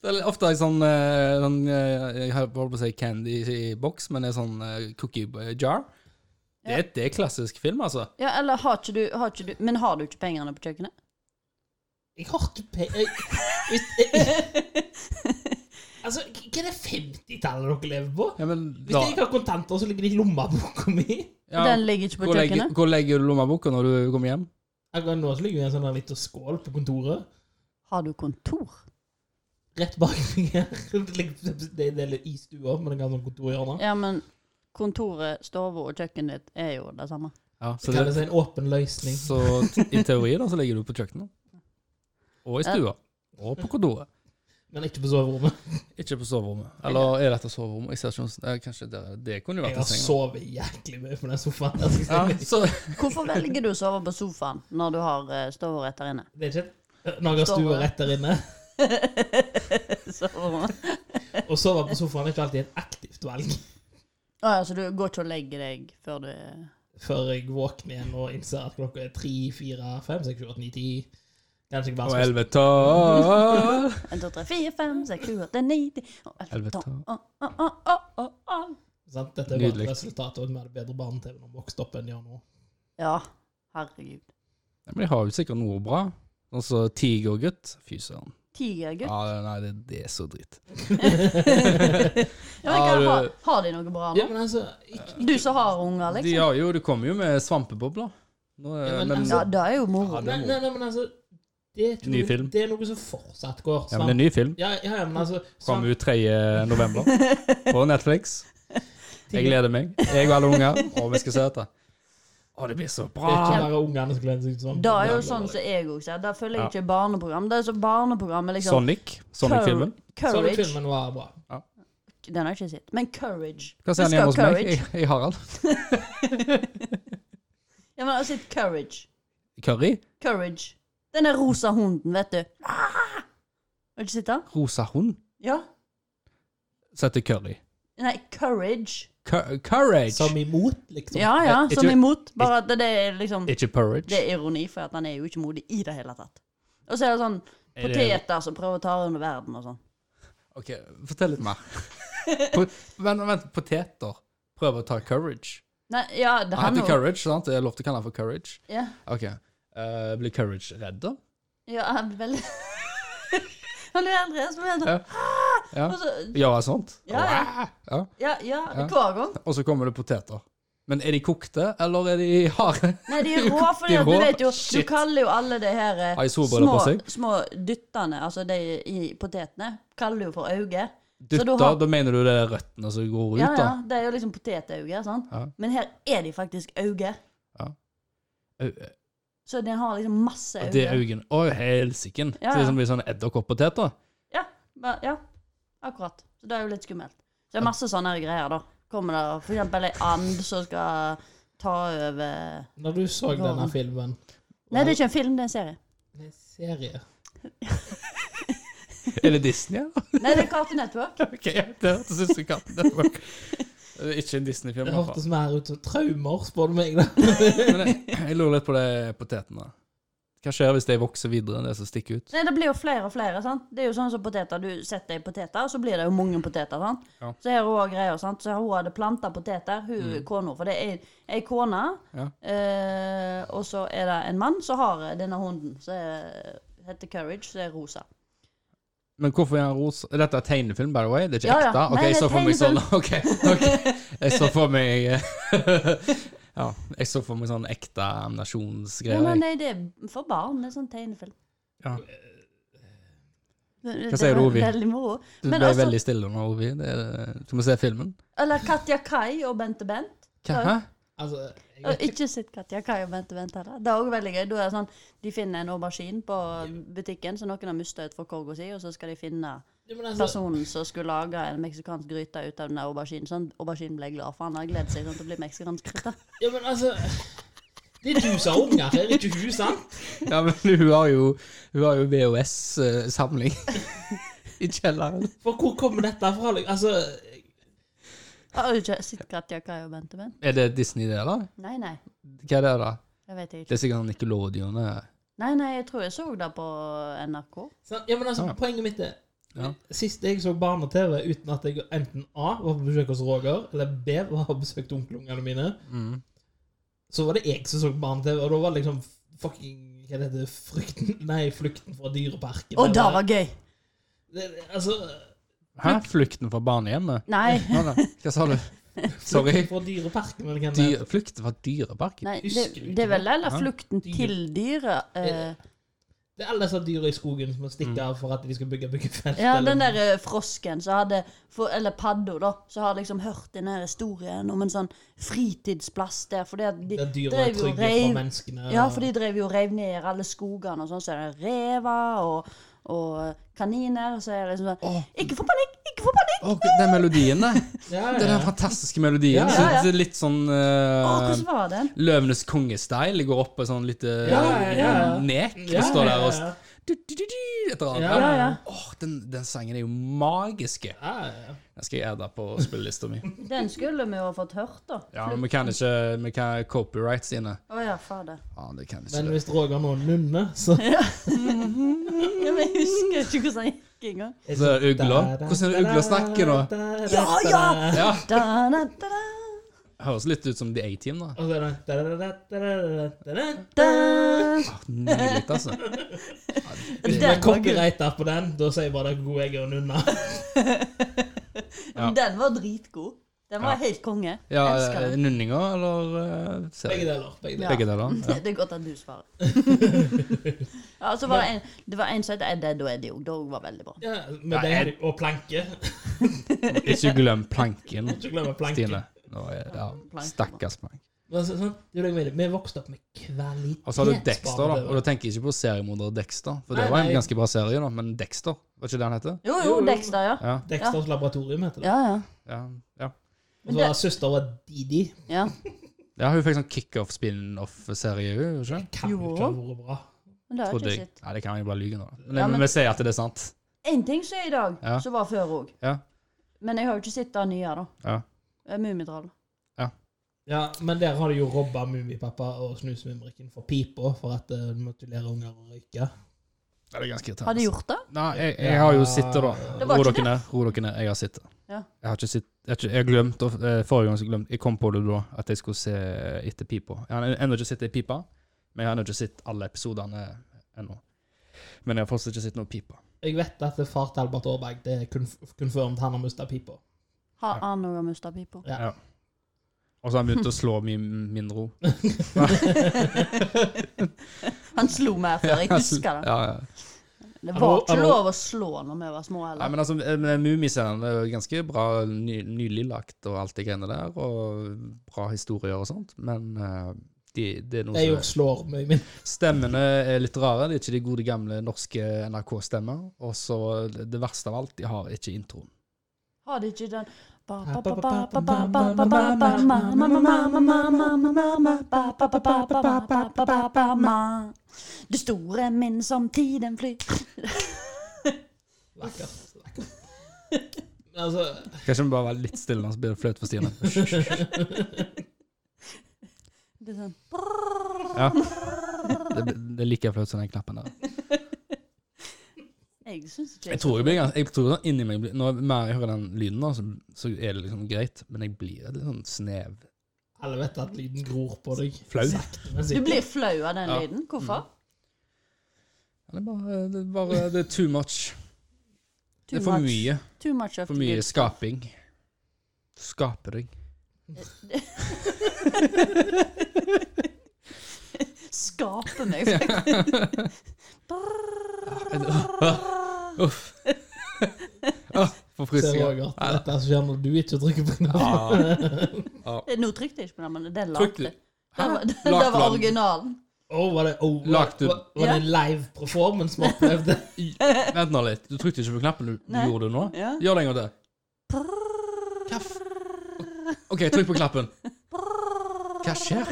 Speaker 1: Det er ofte en sånn, eh, sånn eh, Jeg holdt på å si candy i boks, men det er sånn eh, cookie jar. Det, er- det er klassisk film, altså.
Speaker 2: Ja, eller har ikke du, har ikke du Men har du ikke pengene på kjøkkenet?
Speaker 3: Jeg har ikke penger Hvis Altså, hva er det 50-tallet dere lever på?
Speaker 1: Ja, men
Speaker 3: Hvis
Speaker 1: da
Speaker 3: jeg ikke har kontanter, så ligger de i lommeboka mi.
Speaker 1: ja,
Speaker 2: Den ligger ikke på
Speaker 1: hvor, legger,
Speaker 2: kjøkkenet?
Speaker 1: hvor legger du lommeboka når du kommer hjem?
Speaker 3: Akkurat nå så ligger jo en sånn her liten skål på kontoret.
Speaker 2: Har du kontor?
Speaker 3: Rett bak meg her. Det ligger- Det er en del i stua, men jeg har sånn kontorhjørne.
Speaker 2: Ja, men kontoret, stua og kjøkkenet ditt er jo det samme.
Speaker 1: Ja, så, det,
Speaker 3: Det kalles en åpen løsning.
Speaker 1: så t- i teori da, så ligger du på kjøkkenet. Og i stua. Og på kontoret.
Speaker 3: Men ikke på soverommet.
Speaker 1: Ikke på soverommet. Eller er dette soverommet? Jeg ser ikke noen- eh, Kanskje det, det kunne jo
Speaker 3: Jeg
Speaker 1: vært
Speaker 3: har
Speaker 1: en seng. da.
Speaker 3: sovet jæklig mye på den sofaen. der, skal jeg si.
Speaker 1: Ja, så,
Speaker 2: Hvorfor velger du å sove på sofaen når du har eh, stua rett der inne?
Speaker 3: Det er ikke Når jeg har stua rett der inne.
Speaker 2: Soverommet.
Speaker 3: Å sove på sofaen er ikke alltid et aktivt valg.
Speaker 2: Å ja, så du går ikke og legger deg før du
Speaker 3: Før jeg våkner igjen og innser at klokka er tre, fire, fem, seks, sju, åtte, ni, ti. Kanskje jeg bare
Speaker 1: og
Speaker 3: skal
Speaker 1: elleve tolv
Speaker 2: 1, 2, 3, 4, 5, 6, 7, 8, 9, 10
Speaker 1: Helvete.
Speaker 3: sant? Dette er bare
Speaker 1: Nydelig.
Speaker 3: et resultat av at vi hadde bedre barne-TV når vi vokste opp enn de har nå.
Speaker 2: Ja, herregud.
Speaker 1: Nei, men de har jo sikkert noe bra. Altså Tigergutt. Fy søren.
Speaker 2: Tigergutt.
Speaker 1: Ja, nei, det, det er så dritt.
Speaker 2: Ja, men hva-
Speaker 1: Ja, du-
Speaker 2: har, har de noe bra
Speaker 3: Ja,
Speaker 2: nå?
Speaker 3: men altså ikke,
Speaker 2: Du som har unger,
Speaker 1: De
Speaker 2: liksom.
Speaker 1: har jo, det kommer jo med svampebobler. Nå, er-
Speaker 3: Ja, men
Speaker 1: men,
Speaker 3: altså-
Speaker 2: Ja, det er jo moro.
Speaker 1: Ja, det
Speaker 3: nei,
Speaker 1: er
Speaker 3: nei, nei, men altså det er, ikke
Speaker 1: Ny
Speaker 3: noe-
Speaker 1: film.
Speaker 3: det er noe som fortsatt går.
Speaker 1: ja, men det er en ny film.
Speaker 3: Ja, ja, ja, men altså
Speaker 1: Kom
Speaker 3: svamp-
Speaker 1: ut 3. november på Netflix. Jeg gleder meg. Jeg og alle unger. Og vi skal se dette. Å, det blir så
Speaker 3: Det er ikke
Speaker 1: bra!
Speaker 3: bare ungene som gleder seg til svamp.
Speaker 2: Det er jo sånn som jeg òg ser. Der følger jeg ikke barneprogram. Det er så barneprogrammet, liksom.
Speaker 1: Sonic. Sonic-filmen.
Speaker 2: Cour-
Speaker 3: Sånn
Speaker 2: Courage.
Speaker 3: filmen var bra.
Speaker 2: Den har jeg ikke sett. Men Courage.
Speaker 1: Hva sier han
Speaker 2: Husker
Speaker 1: hjemme hos meg?
Speaker 2: Courage?
Speaker 1: Jeg, jeg har han.
Speaker 2: Ja, men jeg har sett Courage.
Speaker 1: Curry.
Speaker 2: Courage. Den er rosa hunden, vet du. Ah! Har du ikke sett den?
Speaker 1: Rosa hund.
Speaker 2: Ja.
Speaker 1: setter curry.
Speaker 2: Nei, courage.
Speaker 1: Cou- Courage!
Speaker 3: Som imot, liksom.
Speaker 2: Ja, ja,
Speaker 1: Eh,
Speaker 2: som
Speaker 1: ikke-
Speaker 2: imot. Bare at det er liksom
Speaker 1: Ikke porridge.
Speaker 2: Det er ironi, for at han er jo ikke modig i det hele tatt. Og så er det sånn
Speaker 1: Er det-
Speaker 2: poteter som prøver å ta under verden og sånn.
Speaker 1: Ok, fortell litt mer. Po- Vent, vent, poteter. Prøv å ta courage.
Speaker 2: Nei, ja, det
Speaker 1: Han
Speaker 2: han
Speaker 1: heter
Speaker 2: jo.
Speaker 1: Courage, sant? Jeg lovte å kalle han for Courage.
Speaker 2: Ja,
Speaker 1: Ok. Eh, blir Courage redd, da?
Speaker 2: ja, han blir veldig Han blir eldre, så blir han sånn
Speaker 1: Ja. Ja.
Speaker 2: og så-
Speaker 1: Gjør han sånt?
Speaker 2: Ja, ja.
Speaker 1: Ja.
Speaker 2: ja, ja,
Speaker 1: Ja.
Speaker 2: hver gang.
Speaker 1: Og så kommer det poteter. Men er de kokte, eller er de harde?
Speaker 2: Nei, de er rå, for
Speaker 1: De er
Speaker 2: du
Speaker 1: rå.
Speaker 2: vet jo Du
Speaker 1: Shit.
Speaker 2: kaller jo alle de her eh,
Speaker 1: Har jeg solbriller
Speaker 2: små,
Speaker 1: på seg?
Speaker 2: små dyttene, altså de i potetene, kaller du jo for auge. Så du
Speaker 1: Dytter,
Speaker 2: har-
Speaker 1: da mener du det er røttene som går ut,
Speaker 2: Ja, ja,
Speaker 1: da?
Speaker 2: det er jo liksom potetauge, sant?
Speaker 1: Ja.
Speaker 2: Men her er de faktisk auge.
Speaker 1: Au-
Speaker 2: Så den har liksom masse
Speaker 1: Og det er
Speaker 2: auge.
Speaker 1: øynene. Å, helsiken.
Speaker 2: Ja,
Speaker 1: Så det
Speaker 2: ja.
Speaker 1: er som blir sånn edderkopppoteter.
Speaker 2: Ja, ba- ja, akkurat. Så det er jo litt skummelt. Så det er masse sånne her greier, da. Kommer det for eksempel ei and som skal ta over
Speaker 3: Når du så denne
Speaker 2: Gården.
Speaker 3: filmen
Speaker 2: Nei, det er ikke en film, det er en serie.
Speaker 3: Det er en serie.
Speaker 1: Er det Disney, eller?
Speaker 2: Nei, det er Cartoon Network.
Speaker 1: Ok, det hørtes ut som Cartoon Network. Det er ikke en Disney-film,
Speaker 3: Det
Speaker 1: i hvert fall.
Speaker 3: hørtes mer ut som traumer, spør du meg. da.
Speaker 1: Men jeg, jeg lurer litt på de potetene. Hva skjer hvis de vokser videre enn det som stikker ut?
Speaker 2: Nei, Det blir jo flere og flere. sant? Det er jo sånn som poteter. Du setter i poteter, og så blir det jo mange poteter. sant?
Speaker 1: Ja. Mm.
Speaker 2: Så her er også greier, sant? Så hun hadde planta poteter, hun kona. For det er ei kone,
Speaker 1: Ja.
Speaker 2: eh, og så er det en mann som har denne hunden, som er- heter Courage, som er rosa.
Speaker 1: Men hvorfor er han rosa? Dette er tegnefilm, by the way? Det er ikke
Speaker 2: Ja, ja.
Speaker 1: ekte? Ok,
Speaker 2: Nei, det
Speaker 1: jeg
Speaker 2: er
Speaker 1: så for meg sånn Ok, ok. Jeg så for meg eh, Ja, jeg så for meg sånn ekte
Speaker 2: Nei, nei,
Speaker 1: animasjonsgreier. jeg.
Speaker 2: nei, det er for barn. Det er sånn tegnefilm.
Speaker 1: Ja.
Speaker 2: Hva
Speaker 1: sier du, Ovi?
Speaker 2: Veldig moro.
Speaker 1: Du
Speaker 2: Men
Speaker 1: ble
Speaker 2: altså-
Speaker 1: veldig stille nå, Ovi. Det er- Du må se filmen.
Speaker 2: Eller Katja Kai og Bente Bent.
Speaker 1: Hva? Hæ?
Speaker 3: Altså, jeg
Speaker 2: Og
Speaker 3: vet ikke.
Speaker 2: ikke sitt Katja Kai og Bente Bent heller. Det er òg veldig gøy. Da er det sånn, de finner en aubergine på butikken som noen har mista ut fra korga si, og så skal de finne
Speaker 3: Ja, men altså,
Speaker 2: personen som skulle lage en meksikansk gryte ut av den der auberginen. Sånn auberginen ble glad, for han har gledet seg sånn til å bli meksikansk gryte.
Speaker 3: ja, men altså Det er du som har unger her, ikke hun, sant?
Speaker 1: Ja, men hun har jo, hun har jo VHS-samling i kjelleren.
Speaker 3: For hvor kommer dette fra? liksom? Altså,
Speaker 2: Har du ikke sett Katja Kai og Bente Bent?
Speaker 1: Er det Disney, det, da?
Speaker 2: Nei, nei.
Speaker 1: Hva er det, da?
Speaker 2: Det vet jeg
Speaker 1: Det
Speaker 2: ikke.
Speaker 1: er sikkert Nickelodeon. eh.
Speaker 2: Nei, nei, jeg tror jeg så det på NRK.
Speaker 3: sant? Ja, men altså,
Speaker 1: Ja.
Speaker 3: poenget mitt er
Speaker 1: Ja.
Speaker 3: Sist jeg så barne-TV uten at jeg enten A var på besøk hos Roger, eller B var på besøk til onkelungene mine,
Speaker 1: Mm.
Speaker 3: så var det jeg som så barne-TV, og da var det liksom fucking Hva heter det? Frykten Nei, Flukten fra Dyreparken.
Speaker 2: Og det
Speaker 3: eller-
Speaker 2: var gøy!
Speaker 3: det, det- Altså
Speaker 1: Hæ? Flukten fra barnehjemmet?
Speaker 2: Nei.
Speaker 1: Nei, nei. Hva sa du? Sorry.
Speaker 3: Flukten fra Dyreparken, eller hva det
Speaker 1: Dyr, flukten fra dyreparken?
Speaker 2: Nei, det,
Speaker 3: Husker du ikke
Speaker 2: det er vel heller
Speaker 1: Ja.
Speaker 2: flukten
Speaker 3: Dyr.
Speaker 2: til dyret. eh,
Speaker 3: Det er alle disse dyra i skogen som må
Speaker 1: Mm.
Speaker 3: stikke av for at de skal bygge byggefelt.
Speaker 2: ja,
Speaker 3: eller-
Speaker 2: den der eh, frosken som hadde for, Eller padda, da. Som har liksom hørt den her historien om en sånn fritidsplass der. Fordi at de
Speaker 3: der dyra er
Speaker 2: drev jo
Speaker 3: trygge
Speaker 2: reiv
Speaker 3: for menneskene.
Speaker 2: Ja, for de drev jo og rev ned alle skogene, og sånn. Så er det rever og, og eh, kaniner. Så er det liksom sånn
Speaker 1: Åh.
Speaker 2: Ikke få panikk! Ikke få panikk!
Speaker 1: Å, den melodien der.
Speaker 3: ja, ja,
Speaker 1: Det er Den
Speaker 3: ja.
Speaker 1: fantastiske melodien.
Speaker 3: Ja, ja,
Speaker 1: Så
Speaker 2: ja.
Speaker 1: det er litt sånn
Speaker 2: Å,
Speaker 1: uh,
Speaker 3: um,
Speaker 2: hvordan var den?
Speaker 1: Løvenes konge-style. Går opp på sånn lite
Speaker 3: Ja, ja, ja.
Speaker 1: nek
Speaker 3: Ja,
Speaker 1: og står der og
Speaker 3: ja, ja.
Speaker 1: du, du, du, du, Et eller
Speaker 3: Ja,
Speaker 1: annet.
Speaker 2: Ja, ja.
Speaker 1: Åh, den, den sangen er jo magisk.
Speaker 3: Ja, ja.
Speaker 1: Den skal jeg adde på spillelista mi.
Speaker 2: Den skulle vi jo ha fått hørt, da.
Speaker 1: Ja, men vi kan ikke Vi kan copyrights inne.
Speaker 2: Å ja, fader.
Speaker 1: Ja, det kan
Speaker 3: Men
Speaker 1: ikke.
Speaker 3: hvis Roger nå nunner, så
Speaker 2: Ja, men jeg husker ikke hvordan den gikk engang.
Speaker 1: Så er det ugla. Hvordan er det ugla snakker nå?
Speaker 2: Ja, ja!
Speaker 1: Ja.
Speaker 2: Da, da, da, da.
Speaker 1: Høres litt ut som The A-Team, da.
Speaker 3: Og så er det Da-da-da-da-da-da-da-da.
Speaker 2: Da.
Speaker 1: Åh, Nydelig, altså.
Speaker 3: Hvis man copyrighter på den, da sier jeg bare det er god jeg er å nunne.
Speaker 1: Ja.
Speaker 2: Den var dritgod. Den var
Speaker 1: Ja.
Speaker 2: helt konge.
Speaker 1: Ja,
Speaker 2: Jeg elsker den.
Speaker 1: Nunninger eller uh,
Speaker 3: Begge
Speaker 1: serier?
Speaker 3: deler. Begge
Speaker 2: Ja.
Speaker 3: deler.
Speaker 1: Begge deler. Ja.
Speaker 2: Det er godt at du svarer. ja, så var det, en, det var en som het Ed Ed og Eddie òg. Det òg var veldig bra.
Speaker 3: Ja, med
Speaker 1: Ja, jeg-
Speaker 3: det og planke.
Speaker 1: Ikke glem planken,
Speaker 3: Ikke glemme planken.
Speaker 1: Stine. Nå er det, ja, Stakkars plank.
Speaker 3: Men så- sånn, det er det jeg mener. Vi vokste opp med kvalitet.
Speaker 1: Og så har du Dexter, da. Og da tenker jeg ikke på seriemorder Dexter, for det
Speaker 3: Nei,
Speaker 1: var en
Speaker 3: nei.
Speaker 1: ganske bra serie, da. Men Dexter, var ikke det han het?
Speaker 2: Jo,
Speaker 3: Jo,
Speaker 2: jo,
Speaker 3: jo.
Speaker 2: Dexter, ja.
Speaker 1: Ja,
Speaker 3: Dexters laboratorium heter det.
Speaker 2: Ja, ja.
Speaker 1: ja, ja.
Speaker 3: Og så var søster var Didi.
Speaker 2: ja.
Speaker 1: ja hun fikk sånn kickoff-spin-off-serie, hun, gjorde hun ikke?
Speaker 3: Kan jo
Speaker 2: Jo.
Speaker 3: ikke ha vært bra.
Speaker 2: Men det har jeg
Speaker 1: Trodde
Speaker 2: ikke
Speaker 1: jeg.
Speaker 2: sett.
Speaker 1: Nei, det kan jeg bare lyge nå. Men,
Speaker 2: Ja, men-
Speaker 1: men vi sier at det er sant.
Speaker 2: En ting som er i dag,
Speaker 1: Ja.
Speaker 2: som var før òg.
Speaker 1: Ja.
Speaker 2: Men jeg har jo ikke sett det nye, da.
Speaker 1: Ja.
Speaker 2: Eh, Mummitrollet.
Speaker 3: Ja, men der har de jo robba Mummipappa og Snusmumrikken for pipa for at eh, du måtte lære unger å røyke.
Speaker 1: Det er ganske irriterende. altså.
Speaker 2: Har de gjort det?
Speaker 1: Nei, jeg, jeg har jo
Speaker 3: Ja.
Speaker 1: sittet, da.
Speaker 2: Det var
Speaker 1: Ro
Speaker 2: ikke
Speaker 1: dere ned. ro dere ned, Jeg har sittet.
Speaker 2: Ja.
Speaker 1: Jeg har ikke sitt, jeg har ikke, jeg glemte, eh, Forrige gang så glemte jeg kom på det da, at jeg skulle se etter pipa. Jeg har ennå ikke sett ei pipe, men jeg har ennå ikke sett alle episodene ennå. Men jeg har fortsatt ikke sett noe pipe.
Speaker 3: Jeg vet at det er far til Albert Aarberg det er konf- confirmed han har mista pipa.
Speaker 2: Har
Speaker 1: Ja.
Speaker 2: han noe mista pipa?
Speaker 3: Ja.
Speaker 1: Ja. Og så har han begynt å slå min, min ro.
Speaker 2: Han slo meg før, jeg husker det.
Speaker 1: Ja, ja.
Speaker 2: Det
Speaker 3: Hallo,
Speaker 2: var ikke
Speaker 3: hallo.
Speaker 2: lov å slå når vi var små
Speaker 1: Nei,
Speaker 2: heller.
Speaker 1: men altså, Mummiserien er jo ganske bra ny, nylig lagt og alt de greiene der, og bra historier og sånt, men eh, de, det er noe
Speaker 3: Det er
Speaker 1: som
Speaker 3: jo slår mye min.
Speaker 1: Stemmene er litt rare. Det er ikke de gode, gamle norske NRK-stemmer. Og så det verste av alt, de har ikke introen.
Speaker 2: Har de ikke den Det store min som tiden flyr.
Speaker 3: Vakkert. Vakkert. Men altså
Speaker 1: Kanskje vi bare være litt stille, så blir det flaut for Stine.
Speaker 2: Det er sånn
Speaker 1: Ja. Det, det er like flaut som den knappen der.
Speaker 2: Jeg syns ikke
Speaker 1: Jeg tror jeg blir gans- jeg tror sånn inni meg blir- Når mer jeg hører den lyden, nå, så, så er det liksom greit. Men jeg blir litt sånn snev.
Speaker 3: Alle vet at lyden gror på deg.
Speaker 1: Flau.
Speaker 3: Sakte, men
Speaker 2: Du
Speaker 3: sikkert.
Speaker 2: blir flau av den
Speaker 1: Ja.
Speaker 2: lyden. Hvorfor?
Speaker 1: Det er bare, eh, det er bare det er too much. det
Speaker 2: Too
Speaker 1: er for
Speaker 2: much.
Speaker 1: mye.
Speaker 2: Too much of
Speaker 1: For
Speaker 2: the
Speaker 1: mye
Speaker 2: good.
Speaker 1: skaping. Skaper deg.
Speaker 2: Skape meg.
Speaker 1: Uff. Åh,
Speaker 3: Ser
Speaker 1: Forfriskende.
Speaker 3: Roger at dette som skjer når du ikke trykker på knappen.
Speaker 1: Ja.
Speaker 2: Nå trykte jeg ikke på den, men den
Speaker 1: Trykk
Speaker 2: lagde.
Speaker 1: du?
Speaker 2: Det var, det
Speaker 1: Lagde
Speaker 2: var
Speaker 1: den?
Speaker 2: originalen.
Speaker 3: Åh, var det, oh, var,
Speaker 1: Lagt ut.
Speaker 3: var, var det en live performance vi opplevde?
Speaker 1: Vent nå litt. Du trykte ikke på knappen du, du
Speaker 2: Nei.
Speaker 1: gjorde det nå?
Speaker 2: Ja.
Speaker 1: Gjør det en gang til. OK, trykk på knappen. Hva skjer?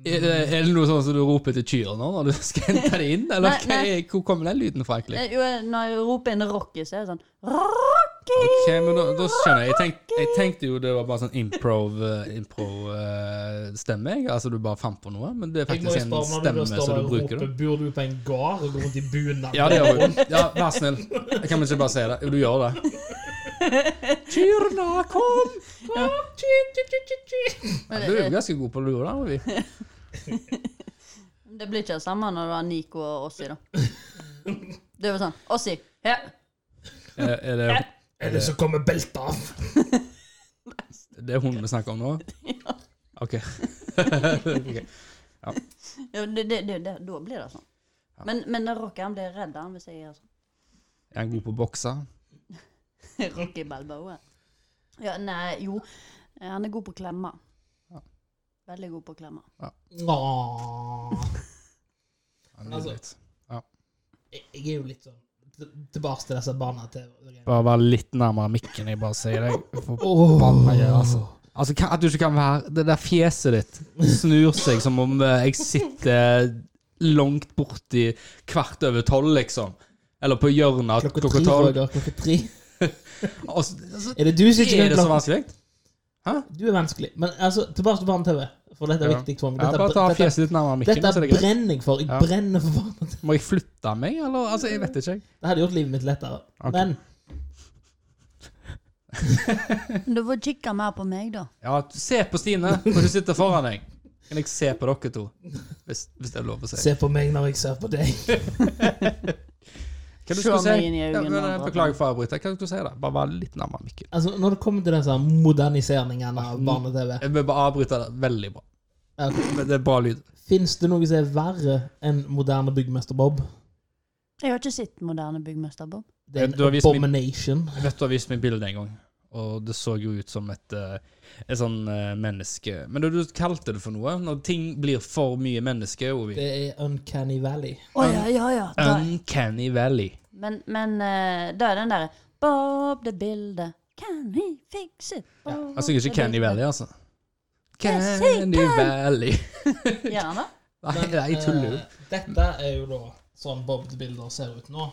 Speaker 1: Er det, er det noe sånn som du roper til kyr nå når du skal hente det inn? Eller
Speaker 2: Nei,
Speaker 1: hva
Speaker 2: nei.
Speaker 1: er, hvor kommer den lyden fra, egentlig?
Speaker 2: Eh, Jo, når jeg roper inn Rocky, så er det sånn Rocky!
Speaker 1: Ok, men da, da skjønner jeg. Jeg, tenk, jeg tenkte jo det var bare sånn improv-stemme. improv, eh, stemme, jeg. altså du bare fant på noe. Men det er
Speaker 3: Jeg må jo
Speaker 1: faktisk en
Speaker 3: spørre om når du
Speaker 1: stemme
Speaker 3: står
Speaker 1: som
Speaker 3: der
Speaker 1: du
Speaker 3: og
Speaker 1: bruker.
Speaker 3: roper
Speaker 1: Da.
Speaker 3: Bor du på en gard og går rundt i bunad?
Speaker 1: Ja, det gjør du. Ja, vær snill. Jeg kan vel ikke bare si det? Jo, du gjør det. Kyrne, kom! Ja, du er jo ganske god på lure, da. Ovi.
Speaker 2: Det blir ikke det samme når du har Nico og Ossi, da. Det var sånn Ossi, her.
Speaker 1: Er, er det,
Speaker 3: Eller så kommer beltet av.
Speaker 1: det er hunden vi snakker om nå? OK. Ok.
Speaker 2: Ja, det, det, det, det, da blir det sånn. Men, men når Rocky han blir redd han hvis jeg gjør sånn.
Speaker 1: Er han god på å bokse?
Speaker 2: Rocky Balboa. Ja, nei, jo. Eh, Han er god på å klemme. Veldig god på å klemme.
Speaker 3: Åh.
Speaker 1: Ja,
Speaker 3: Altså-
Speaker 1: nydelig.
Speaker 3: Jeg jeg er jo litt sånn til- tilbake til disse barna til
Speaker 1: Bare vær litt nærmere mikken, jeg bare sier det. Forbanna greier,
Speaker 3: Åh.
Speaker 1: altså. Altså, hva- At du ikke kan være Det der fjeset ditt snur seg som om eh, jeg sitter langt borti kvart over tolv, liksom. Eller på hjørnet
Speaker 3: Klokka
Speaker 1: klokka
Speaker 3: tre,
Speaker 1: tolv.
Speaker 3: Roger. Klokka tre.
Speaker 1: Altså, altså,
Speaker 3: Er det du som ikke
Speaker 1: er
Speaker 3: kan
Speaker 1: det så
Speaker 3: klare
Speaker 1: vanskelig?
Speaker 3: Du er vanskelig. Men altså, tilbake til barne-TV. For dette er
Speaker 1: Ja.
Speaker 3: viktig for meg.
Speaker 1: Ja, bare ta
Speaker 3: Dette, dette,
Speaker 1: fjeset ditt nærmere mikken.
Speaker 3: dette
Speaker 1: så er det greit.
Speaker 3: brenner jeg for. Jeg
Speaker 1: Ja.
Speaker 3: brenner for barne-TV.
Speaker 1: Må jeg flytte meg, eller? Altså, jeg vet ikke. jeg.
Speaker 3: Det hadde gjort livet mitt lettere.
Speaker 1: Ok.
Speaker 3: Men
Speaker 2: Du får kikke mer på meg, da.
Speaker 1: Ja, se på Stine når du sitter foran deg. Kan jeg se på dere to? Hvis, hvis det er lov å si.
Speaker 3: se på meg når jeg ser på deg.
Speaker 1: Hva du
Speaker 2: Se
Speaker 1: skulle
Speaker 2: meg
Speaker 1: si?
Speaker 2: inn i
Speaker 1: Ja,
Speaker 2: øynene,
Speaker 1: men, eh,
Speaker 2: Bratan.
Speaker 1: beklager for å avbryte. Hva skulle du si da? Bare vær litt nærmere mikken.
Speaker 3: Altså, Når det kommer til disse moderniseringene av barne-TV
Speaker 1: Jeg vil bare avbryte det veldig bra.
Speaker 3: ok,
Speaker 1: Men det er bra lyd.
Speaker 3: Fins det noe som er verre enn moderne byggmester Bob?
Speaker 2: Jeg har ikke sett moderne byggmester Bob.
Speaker 3: Det er
Speaker 1: Eh, Du har
Speaker 3: en
Speaker 1: vist meg-
Speaker 3: abomination.
Speaker 1: Jeg vet du har vist meg bildet en gang, og det så jo ut som et, eh, et sånn eh, menneske. Men du, du kalte det for noe. Når ting blir for mye menneske, Ovi.
Speaker 3: Det er Uncanny Valley.
Speaker 2: Å ja, ja, ja. Da,
Speaker 1: Uncanny Valley.
Speaker 2: men men eh, da er den derre Bob det bildet, can he fix it? Bob
Speaker 1: Altså ikke
Speaker 2: the
Speaker 1: Candy
Speaker 2: bildet.
Speaker 1: Valley, altså.
Speaker 2: Yes, he
Speaker 1: Candy Valley.
Speaker 2: Gjør han det?
Speaker 1: Nei, nei, tuller du?
Speaker 3: Eh, dette er jo da sånn Bob the Builder ser ut nå.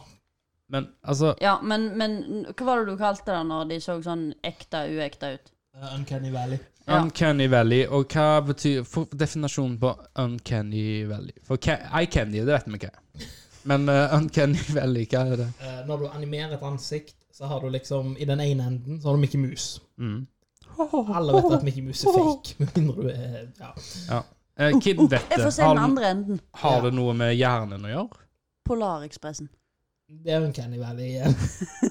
Speaker 1: Men altså
Speaker 2: Ja, men, men hva var det du kalte det når de så sånn ekte, uekte ut?
Speaker 3: Uh, Uncanny Valley.
Speaker 2: Ja.
Speaker 1: Uncanny Valley, og hva betyr for definasjonen på Uncanny Valley? For ca- Eye Candy, det vet vi hva er. Men eh, Uncanny Valley, hva er det?
Speaker 3: Eh, når du animerer et ansikt, så har du liksom I den ene enden så har du Mickey Mouse.
Speaker 1: Mm.
Speaker 3: Alle vet at Mickey Mouse er fake, med mindre du er ja.
Speaker 1: Eh, Kid vet
Speaker 2: Uh, Jeg
Speaker 1: det.
Speaker 2: får se den
Speaker 1: Har,
Speaker 2: andre enden.
Speaker 1: har det noe med hjernen å gjøre?
Speaker 2: Polarekspressen.
Speaker 3: Det er Uncanny Valley igjen.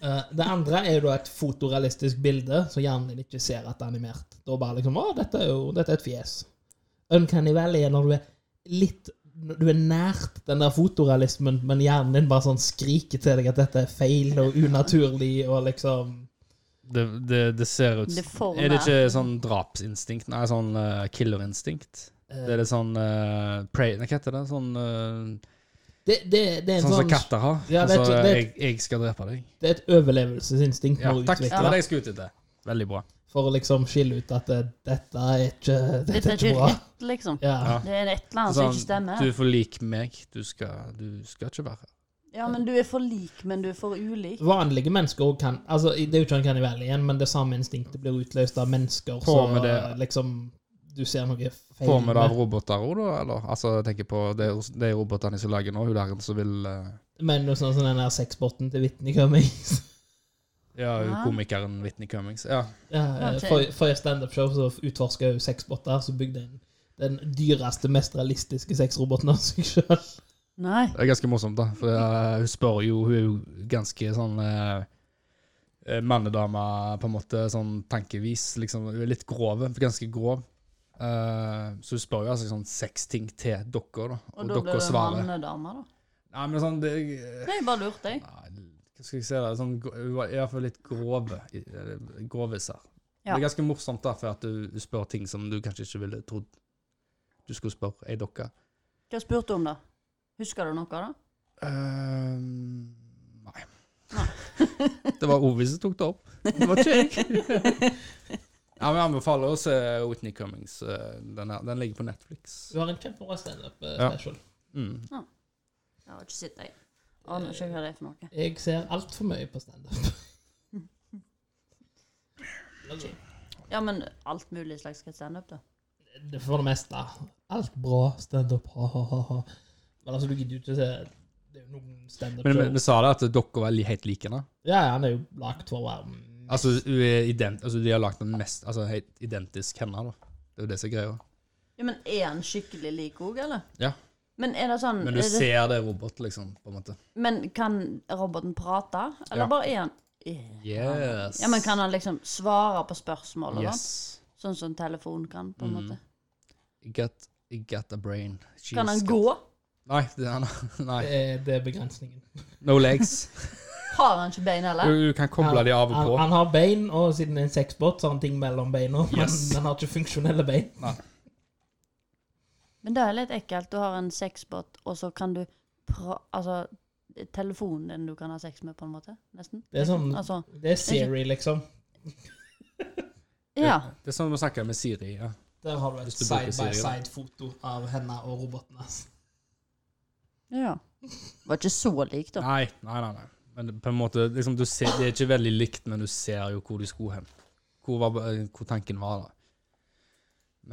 Speaker 3: Eh, det andre er jo da et fotorealistisk bilde, så hjernen din ikke ser at det er animert. Da bare liksom Å, dette er jo dette er et fjes. Uncanny Valley er når du er litt når Du er nært den der fotorealismen, men hjernen din bare sånn skriker til deg at dette er feil og unaturlig og liksom
Speaker 1: Det, det, det ser ut
Speaker 2: Det får
Speaker 1: Er det
Speaker 2: meg.
Speaker 1: ikke sånn drapsinstinkt? Nei, sånn eh, killerinstinkt?
Speaker 3: eh,
Speaker 1: Det er litt sånn eh, prey, Hva heter det? Sånn, eh,
Speaker 3: det, det, det er en
Speaker 1: sånn som
Speaker 3: sånn,
Speaker 1: katter har.
Speaker 3: Ja, det er
Speaker 1: altså,
Speaker 3: ikke- det er-
Speaker 1: jeg, jeg skal drepe deg.
Speaker 3: Det er et overlevelsesinstinkt
Speaker 1: Ja,
Speaker 3: må
Speaker 1: takk. Det
Speaker 3: utvikle
Speaker 1: var det jeg skulle ut etter. Veldig bra.
Speaker 3: for å liksom skille ut at eh, dette er ikke,
Speaker 2: Dette er ikke
Speaker 3: bra.
Speaker 2: rett, liksom.
Speaker 3: Ja.
Speaker 1: Ja.
Speaker 2: Det er et eller annet som
Speaker 1: Sånn,
Speaker 2: Altså, ikke stemmer.
Speaker 1: Du er for lik meg. Du skal, du skal ikke være her.
Speaker 2: Ja, men du er for lik, men du er for ulik.
Speaker 3: Vanlige mennesker også kan altså Det er jo ikke en kanivell igjen, men det samme instinktet blir utløst av mennesker.
Speaker 1: På
Speaker 3: Så
Speaker 1: med det.
Speaker 3: liksom Du ser noe feil
Speaker 1: Får vi det av roboter òg, da? Eller? Altså, jeg tenker på de, de robotene som lager nå, hun der som vil eh,
Speaker 3: Men noe sånn som den der sexbotten til Whitney Cummings.
Speaker 1: Ja, hun
Speaker 2: Ja.
Speaker 1: komikeren Whitney Cummings. Ja.
Speaker 3: Ja, eh,
Speaker 2: Ok.
Speaker 3: for- For et standup-show så utforska hun sexbotter, så bygde hun den dyreste, mest realistiske sexroboten av seg sjøl.
Speaker 2: Nei.
Speaker 1: Det er ganske morsomt, da. For eh, hun spør jo Hun er jo ganske sånn eh, eh, mannedame, på en måte, sånn tankevis. Liksom. Hun er litt grov. Ganske grov. Eh, så hun spør jo altså sånn seks ting til dere, da.
Speaker 2: Og da blir
Speaker 1: dere
Speaker 2: du
Speaker 1: svarer.
Speaker 2: mannedame, da.
Speaker 1: Nei, men sånn det,
Speaker 2: Det er bare lurt, jeg.
Speaker 1: Nei, Hva skal jeg si da? Sånn, gro- hun var i hvert fall litt grove. i- eller Groviser.
Speaker 2: Ja.
Speaker 1: Det er ganske morsomt da, for at du du spør ting som du kanskje ikke ville trodd du skulle spørre ei dokke.
Speaker 2: Hva spurte du om, da? Husker du noe, da?
Speaker 1: Ehm, nei. det var Ovi som tok det opp. Det var ikke jeg. ja, men jeg anbefaler å se Whitney Cummings. eh, Den, er, den ligger på Netflix.
Speaker 3: Hun har en kjempebra eh, standup-special.
Speaker 1: Mm.
Speaker 2: Jeg har ikke sett deg. Aner ikke hva det er for noe.
Speaker 3: Jeg ser altfor mye på standup.
Speaker 2: Ja, men alt mulig slags standup, da.
Speaker 3: Det- For det meste. Alt bra standup, ha-ha-ha. Men altså, du gidder jo ikke se Det er jo noen
Speaker 1: Men vi, vi
Speaker 3: standup-show.
Speaker 1: sa det at dere var li- helt like. Da.
Speaker 3: Ja, ja, han er jo lagd for å være mm,
Speaker 1: Altså, hun er ident, altså, de har lagt den mest altså, helt identisk henne. Da. Det er jo det som er greia.
Speaker 2: Ja, Men er han skikkelig lik òg, eller?
Speaker 1: Ja.
Speaker 2: Men er det sånn
Speaker 1: Men
Speaker 2: er
Speaker 1: du
Speaker 2: det,
Speaker 1: ser det er robot, liksom, på en måte.
Speaker 2: men kan roboten prate, eller
Speaker 1: Ja.
Speaker 2: bare er han Eh.
Speaker 1: Yes.
Speaker 2: Ja, men kan han liksom svare på spørsmål og sånn?
Speaker 1: Yes.
Speaker 2: Sånn som telefon kan, på en måte.
Speaker 1: I got, I got a brain. She's
Speaker 2: Kan han
Speaker 1: got-
Speaker 2: gå?
Speaker 1: Nei, det, han, nei.
Speaker 3: det, er- det er begrensningen.
Speaker 1: No legs.
Speaker 2: Har han ikke bein,
Speaker 1: Du,
Speaker 2: eller?
Speaker 1: du kan koble de av og
Speaker 3: han,
Speaker 1: på.
Speaker 3: han har bein, og siden det er en sexbot, så har han ting mellom beina.
Speaker 1: Yes.
Speaker 3: Men han har ikke funksjonelle bein.
Speaker 2: Men det er litt ekkelt. Du har en sexbot, og så kan du pra... Altså, telefonen din du kan ha sex med, på en måte? Nesten?
Speaker 3: Det er sånn
Speaker 2: Altså,
Speaker 3: Det er Siri, liksom.
Speaker 2: ja.
Speaker 1: Det er sånn vi snakker med Siri. Ja.
Speaker 3: Der har du et
Speaker 1: Hvis du bruker Siri, da.
Speaker 3: side-by-side-foto av henne og roboten hans.
Speaker 2: ja. Var ikke så lik, da.
Speaker 1: Nei, nei, nei. nei. Men det- på en måte, liksom, du ser, det er ikke veldig likt, men du ser jo hvor de skulle hen. Hvor, var, eh, hvor tanken var, da.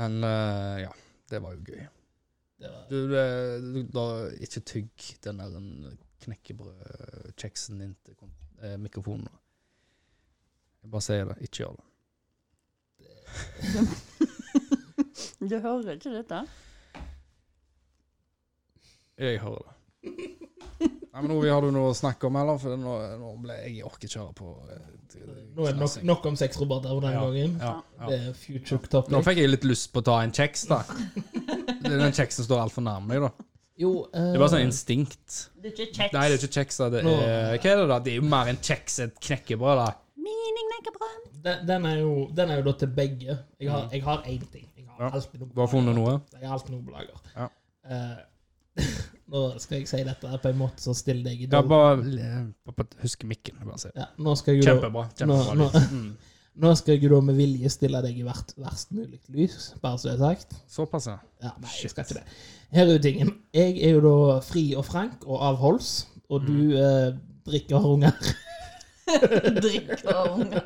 Speaker 1: Men eh, ja, det var jo gøy.
Speaker 3: Det var-
Speaker 1: Du, eh, du da, ikke tygg den der den knekkebrødkjeksen din til kon- eh, mikrofonen. nå. Jeg bare sier det, ikke gjør det.
Speaker 2: Du hører ikke dette?
Speaker 1: Jeg hører det. Nei, men Ovi, har du noe å snakke om, eller? For nå, nå ble jeg jeg orker ikke høre på
Speaker 3: Nå er det nok, nok om sexroboter for den
Speaker 1: Ja.
Speaker 3: gangen.
Speaker 1: Ja, ja.
Speaker 3: Det er future topic.
Speaker 1: Nå fikk jeg litt lyst på å ta en kjeks, da. Det er Den kjeksen står altfor nær meg, da.
Speaker 3: Jo, eh,
Speaker 1: Det er bare sånn instinkt.
Speaker 2: Det er ikke
Speaker 1: Nei, det er
Speaker 2: kjeks.
Speaker 1: ikke kjeks, da. Det er, hva er det, da? Det er jo mer en kjeks enn knekkebrød, da.
Speaker 2: Mening knekkebrød.
Speaker 3: den, den, er jo, den er jo da til begge. Jeg har, jeg har én ting. Jeg har
Speaker 1: Mm. Ja.
Speaker 3: alltid noe
Speaker 1: Du har funnet noe?
Speaker 3: Jeg har alltid noe på lager.
Speaker 1: Ja.
Speaker 3: Eh, nå skal jeg si dette på en måte som stiller deg i
Speaker 1: Ja,
Speaker 3: dårlig-
Speaker 1: bare, eh, bare husk mikken. Bare si.
Speaker 3: ja, nå skal jeg jo da,
Speaker 1: Kjempebra. kjempebra
Speaker 3: Nå-
Speaker 1: lyd. Mm.
Speaker 3: Nå skal jeg jo da med vilje stille deg i hvert verst mulig lys, bare så det er sagt.
Speaker 1: Såpass, ja.
Speaker 3: Ja, nei, jeg skal ikke det. Her er jo tingen. Jeg er jo da fri og frank og avholds, og du
Speaker 1: Mm.
Speaker 3: eh, drikker og har unger.
Speaker 2: Drikker og unger.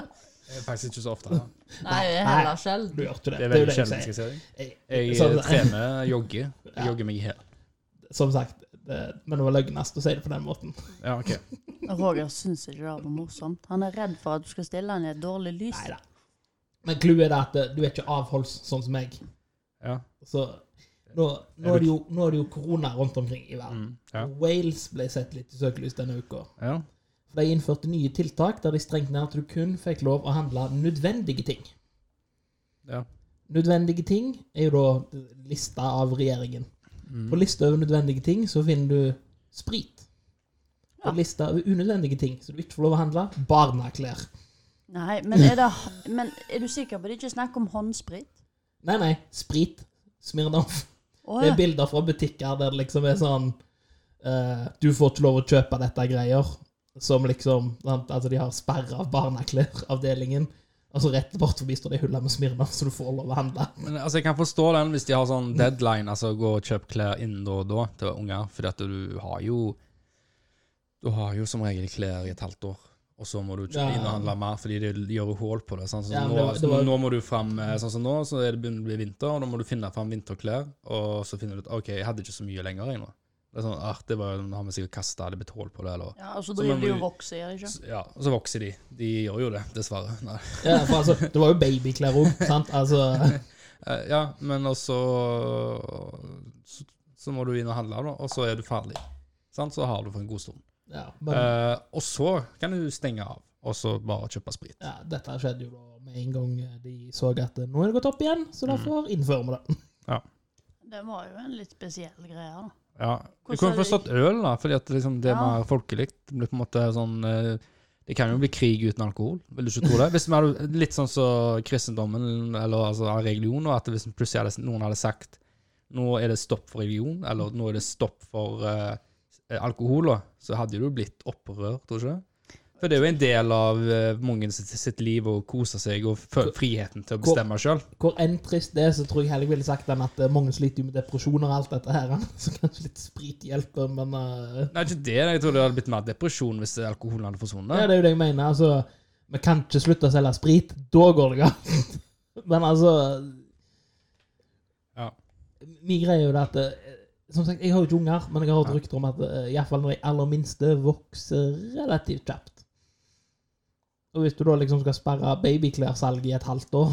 Speaker 1: Det er faktisk ikke så ofte. da.
Speaker 2: Nei, jeg er heller sjelden.
Speaker 3: Du gjør ikke det.
Speaker 1: Det er
Speaker 3: Det jo
Speaker 1: veldig
Speaker 3: det jeg
Speaker 1: sjelden. skal
Speaker 3: sier.
Speaker 1: jeg si deg.
Speaker 3: Jeg-
Speaker 1: Jeg
Speaker 3: Sånn-
Speaker 1: trener, jogger.
Speaker 3: Ja.
Speaker 1: Jeg jogger meg i hæl.
Speaker 3: Som sagt, det, men det var løgnast å si det på den måten.
Speaker 1: Ja, ok.
Speaker 2: Roger syns ikke det var morsomt. Han er redd for at du skal stille han i et dårlig lys.
Speaker 3: Neida. Men clouet er det at eh, du er ikke avholds, sånn som meg.
Speaker 1: Ja.
Speaker 3: Så nå, nå, er det jo, nå er det jo korona rundt omkring i verden.
Speaker 1: Mm. Ja.
Speaker 3: Wales ble sett litt i søkelys denne uka.
Speaker 1: ja.
Speaker 3: For De innførte nye tiltak der de strengt ned at du kun fikk lov å handle nødvendige ting.
Speaker 1: Ja.
Speaker 3: Nødvendige ting er jo da lista av regjeringen.
Speaker 1: Mm.
Speaker 3: På lista over nødvendige ting så finner du sprit. På
Speaker 2: Ja.
Speaker 3: lista over unødvendige ting som du ikke får lov å handle, barneklær.
Speaker 2: Nei, men er, det, men er du sikker på at det ikke er snakk om håndsprit?
Speaker 3: Nei, nei, sprit. Smirnoff.
Speaker 2: Å,
Speaker 3: Det
Speaker 2: ja.
Speaker 3: er bilder fra butikker der det liksom er sånn eh, Du får ikke lov å kjøpe dette greier. Som liksom sant? Altså, de har sperra av barneklær-avdelingen. Altså rett bort forbi står det huller med Smirnoff, så du får lov å handle.
Speaker 1: Men altså, Jeg kan forstå den hvis de har sånn deadline, altså gå og kjøp klær innen da og da til unger. Fordi at du har jo Du har jo som regel klær i et halvt år, og så må du kjøpe
Speaker 3: Ja.
Speaker 1: inn og handle mer fordi det gjør jo hull på det. Sånn, som
Speaker 3: Ja, men
Speaker 1: nå,
Speaker 3: det var- det var-
Speaker 1: nå må du fram eh, sånn som nå, så er det begynner å bli vinter, og da må du finne fram vinterklær, og så finner du ut OK, jeg hadde ikke så mye lenger, jeg nå. Det er sånn, ah, det var, nå har vi sikkert kasta, det er blitt hull på det, eller
Speaker 2: ja, og så
Speaker 1: Så
Speaker 2: driver
Speaker 1: man
Speaker 2: de
Speaker 1: må
Speaker 2: og
Speaker 1: jo-
Speaker 2: vokser, gjør de ikke?
Speaker 1: Ja, og så vokser de. De gjør jo det, dessverre. Nei.
Speaker 3: Ja, for altså, det var jo babyklær òg, sant? Altså,
Speaker 1: Eh, Ja, men også så, så må du inn og handle, da, og så er du ferdig. Sant? Så har du for en god stund.
Speaker 3: ja, men,
Speaker 1: Eh, og så kan du stenge av, og så bare kjøpe sprit.
Speaker 3: ja, dette skjedde jo da med en gang eh, de så at nå er det gått opp igjen, så
Speaker 2: Mm.
Speaker 3: derfor innfører vi det.
Speaker 2: Det var jo en litt spesiell greie, da.
Speaker 1: Ja. Du
Speaker 2: Hvordan
Speaker 1: kunne
Speaker 2: er det-
Speaker 1: forstått øl, da, fordi at liksom det er
Speaker 2: Ja.
Speaker 1: mer folkelig. Det blir på en måte sånn eh, Det kan jo bli krig uten alkohol, vil du ikke tro det? Hvis vi hadde Litt sånn som kristendommen, eller altså religionen, at hvis plutselig hadde, noen hadde sagt nå er det stopp for religion, eller nå er det stopp for eh, alkohol, da, så hadde du blitt opprør, tror du ikke? det? For det er jo en del av eh, mange sitt, sitt liv å kose seg og fø- friheten til å
Speaker 3: Hvor-
Speaker 1: bestemme sjøl.
Speaker 3: Hvor enn trist det er, så tror jeg heller jeg ville sagt enn at eh, mange sliter jo med depresjoner og alt dette her. Så kanskje litt sprit hjelper, men eh,
Speaker 1: Nei, ikke det. Jeg tror det hadde blitt mer depresjon hvis alkoholen hadde forsvunnet.
Speaker 3: Ja, det er jo det jeg mener. Altså, vi kan ikke slutte å selge sprit. Da går det galt. Men altså
Speaker 1: Ja.
Speaker 3: Min greie er jo det at eh, Som sagt, jeg har jo ikke unger, men jeg har hørt rykter om at eh, i hvert fall når de aller minste vokser relativt kjapt. Og hvis du da liksom skal sperre babyklærsalget i et halvt år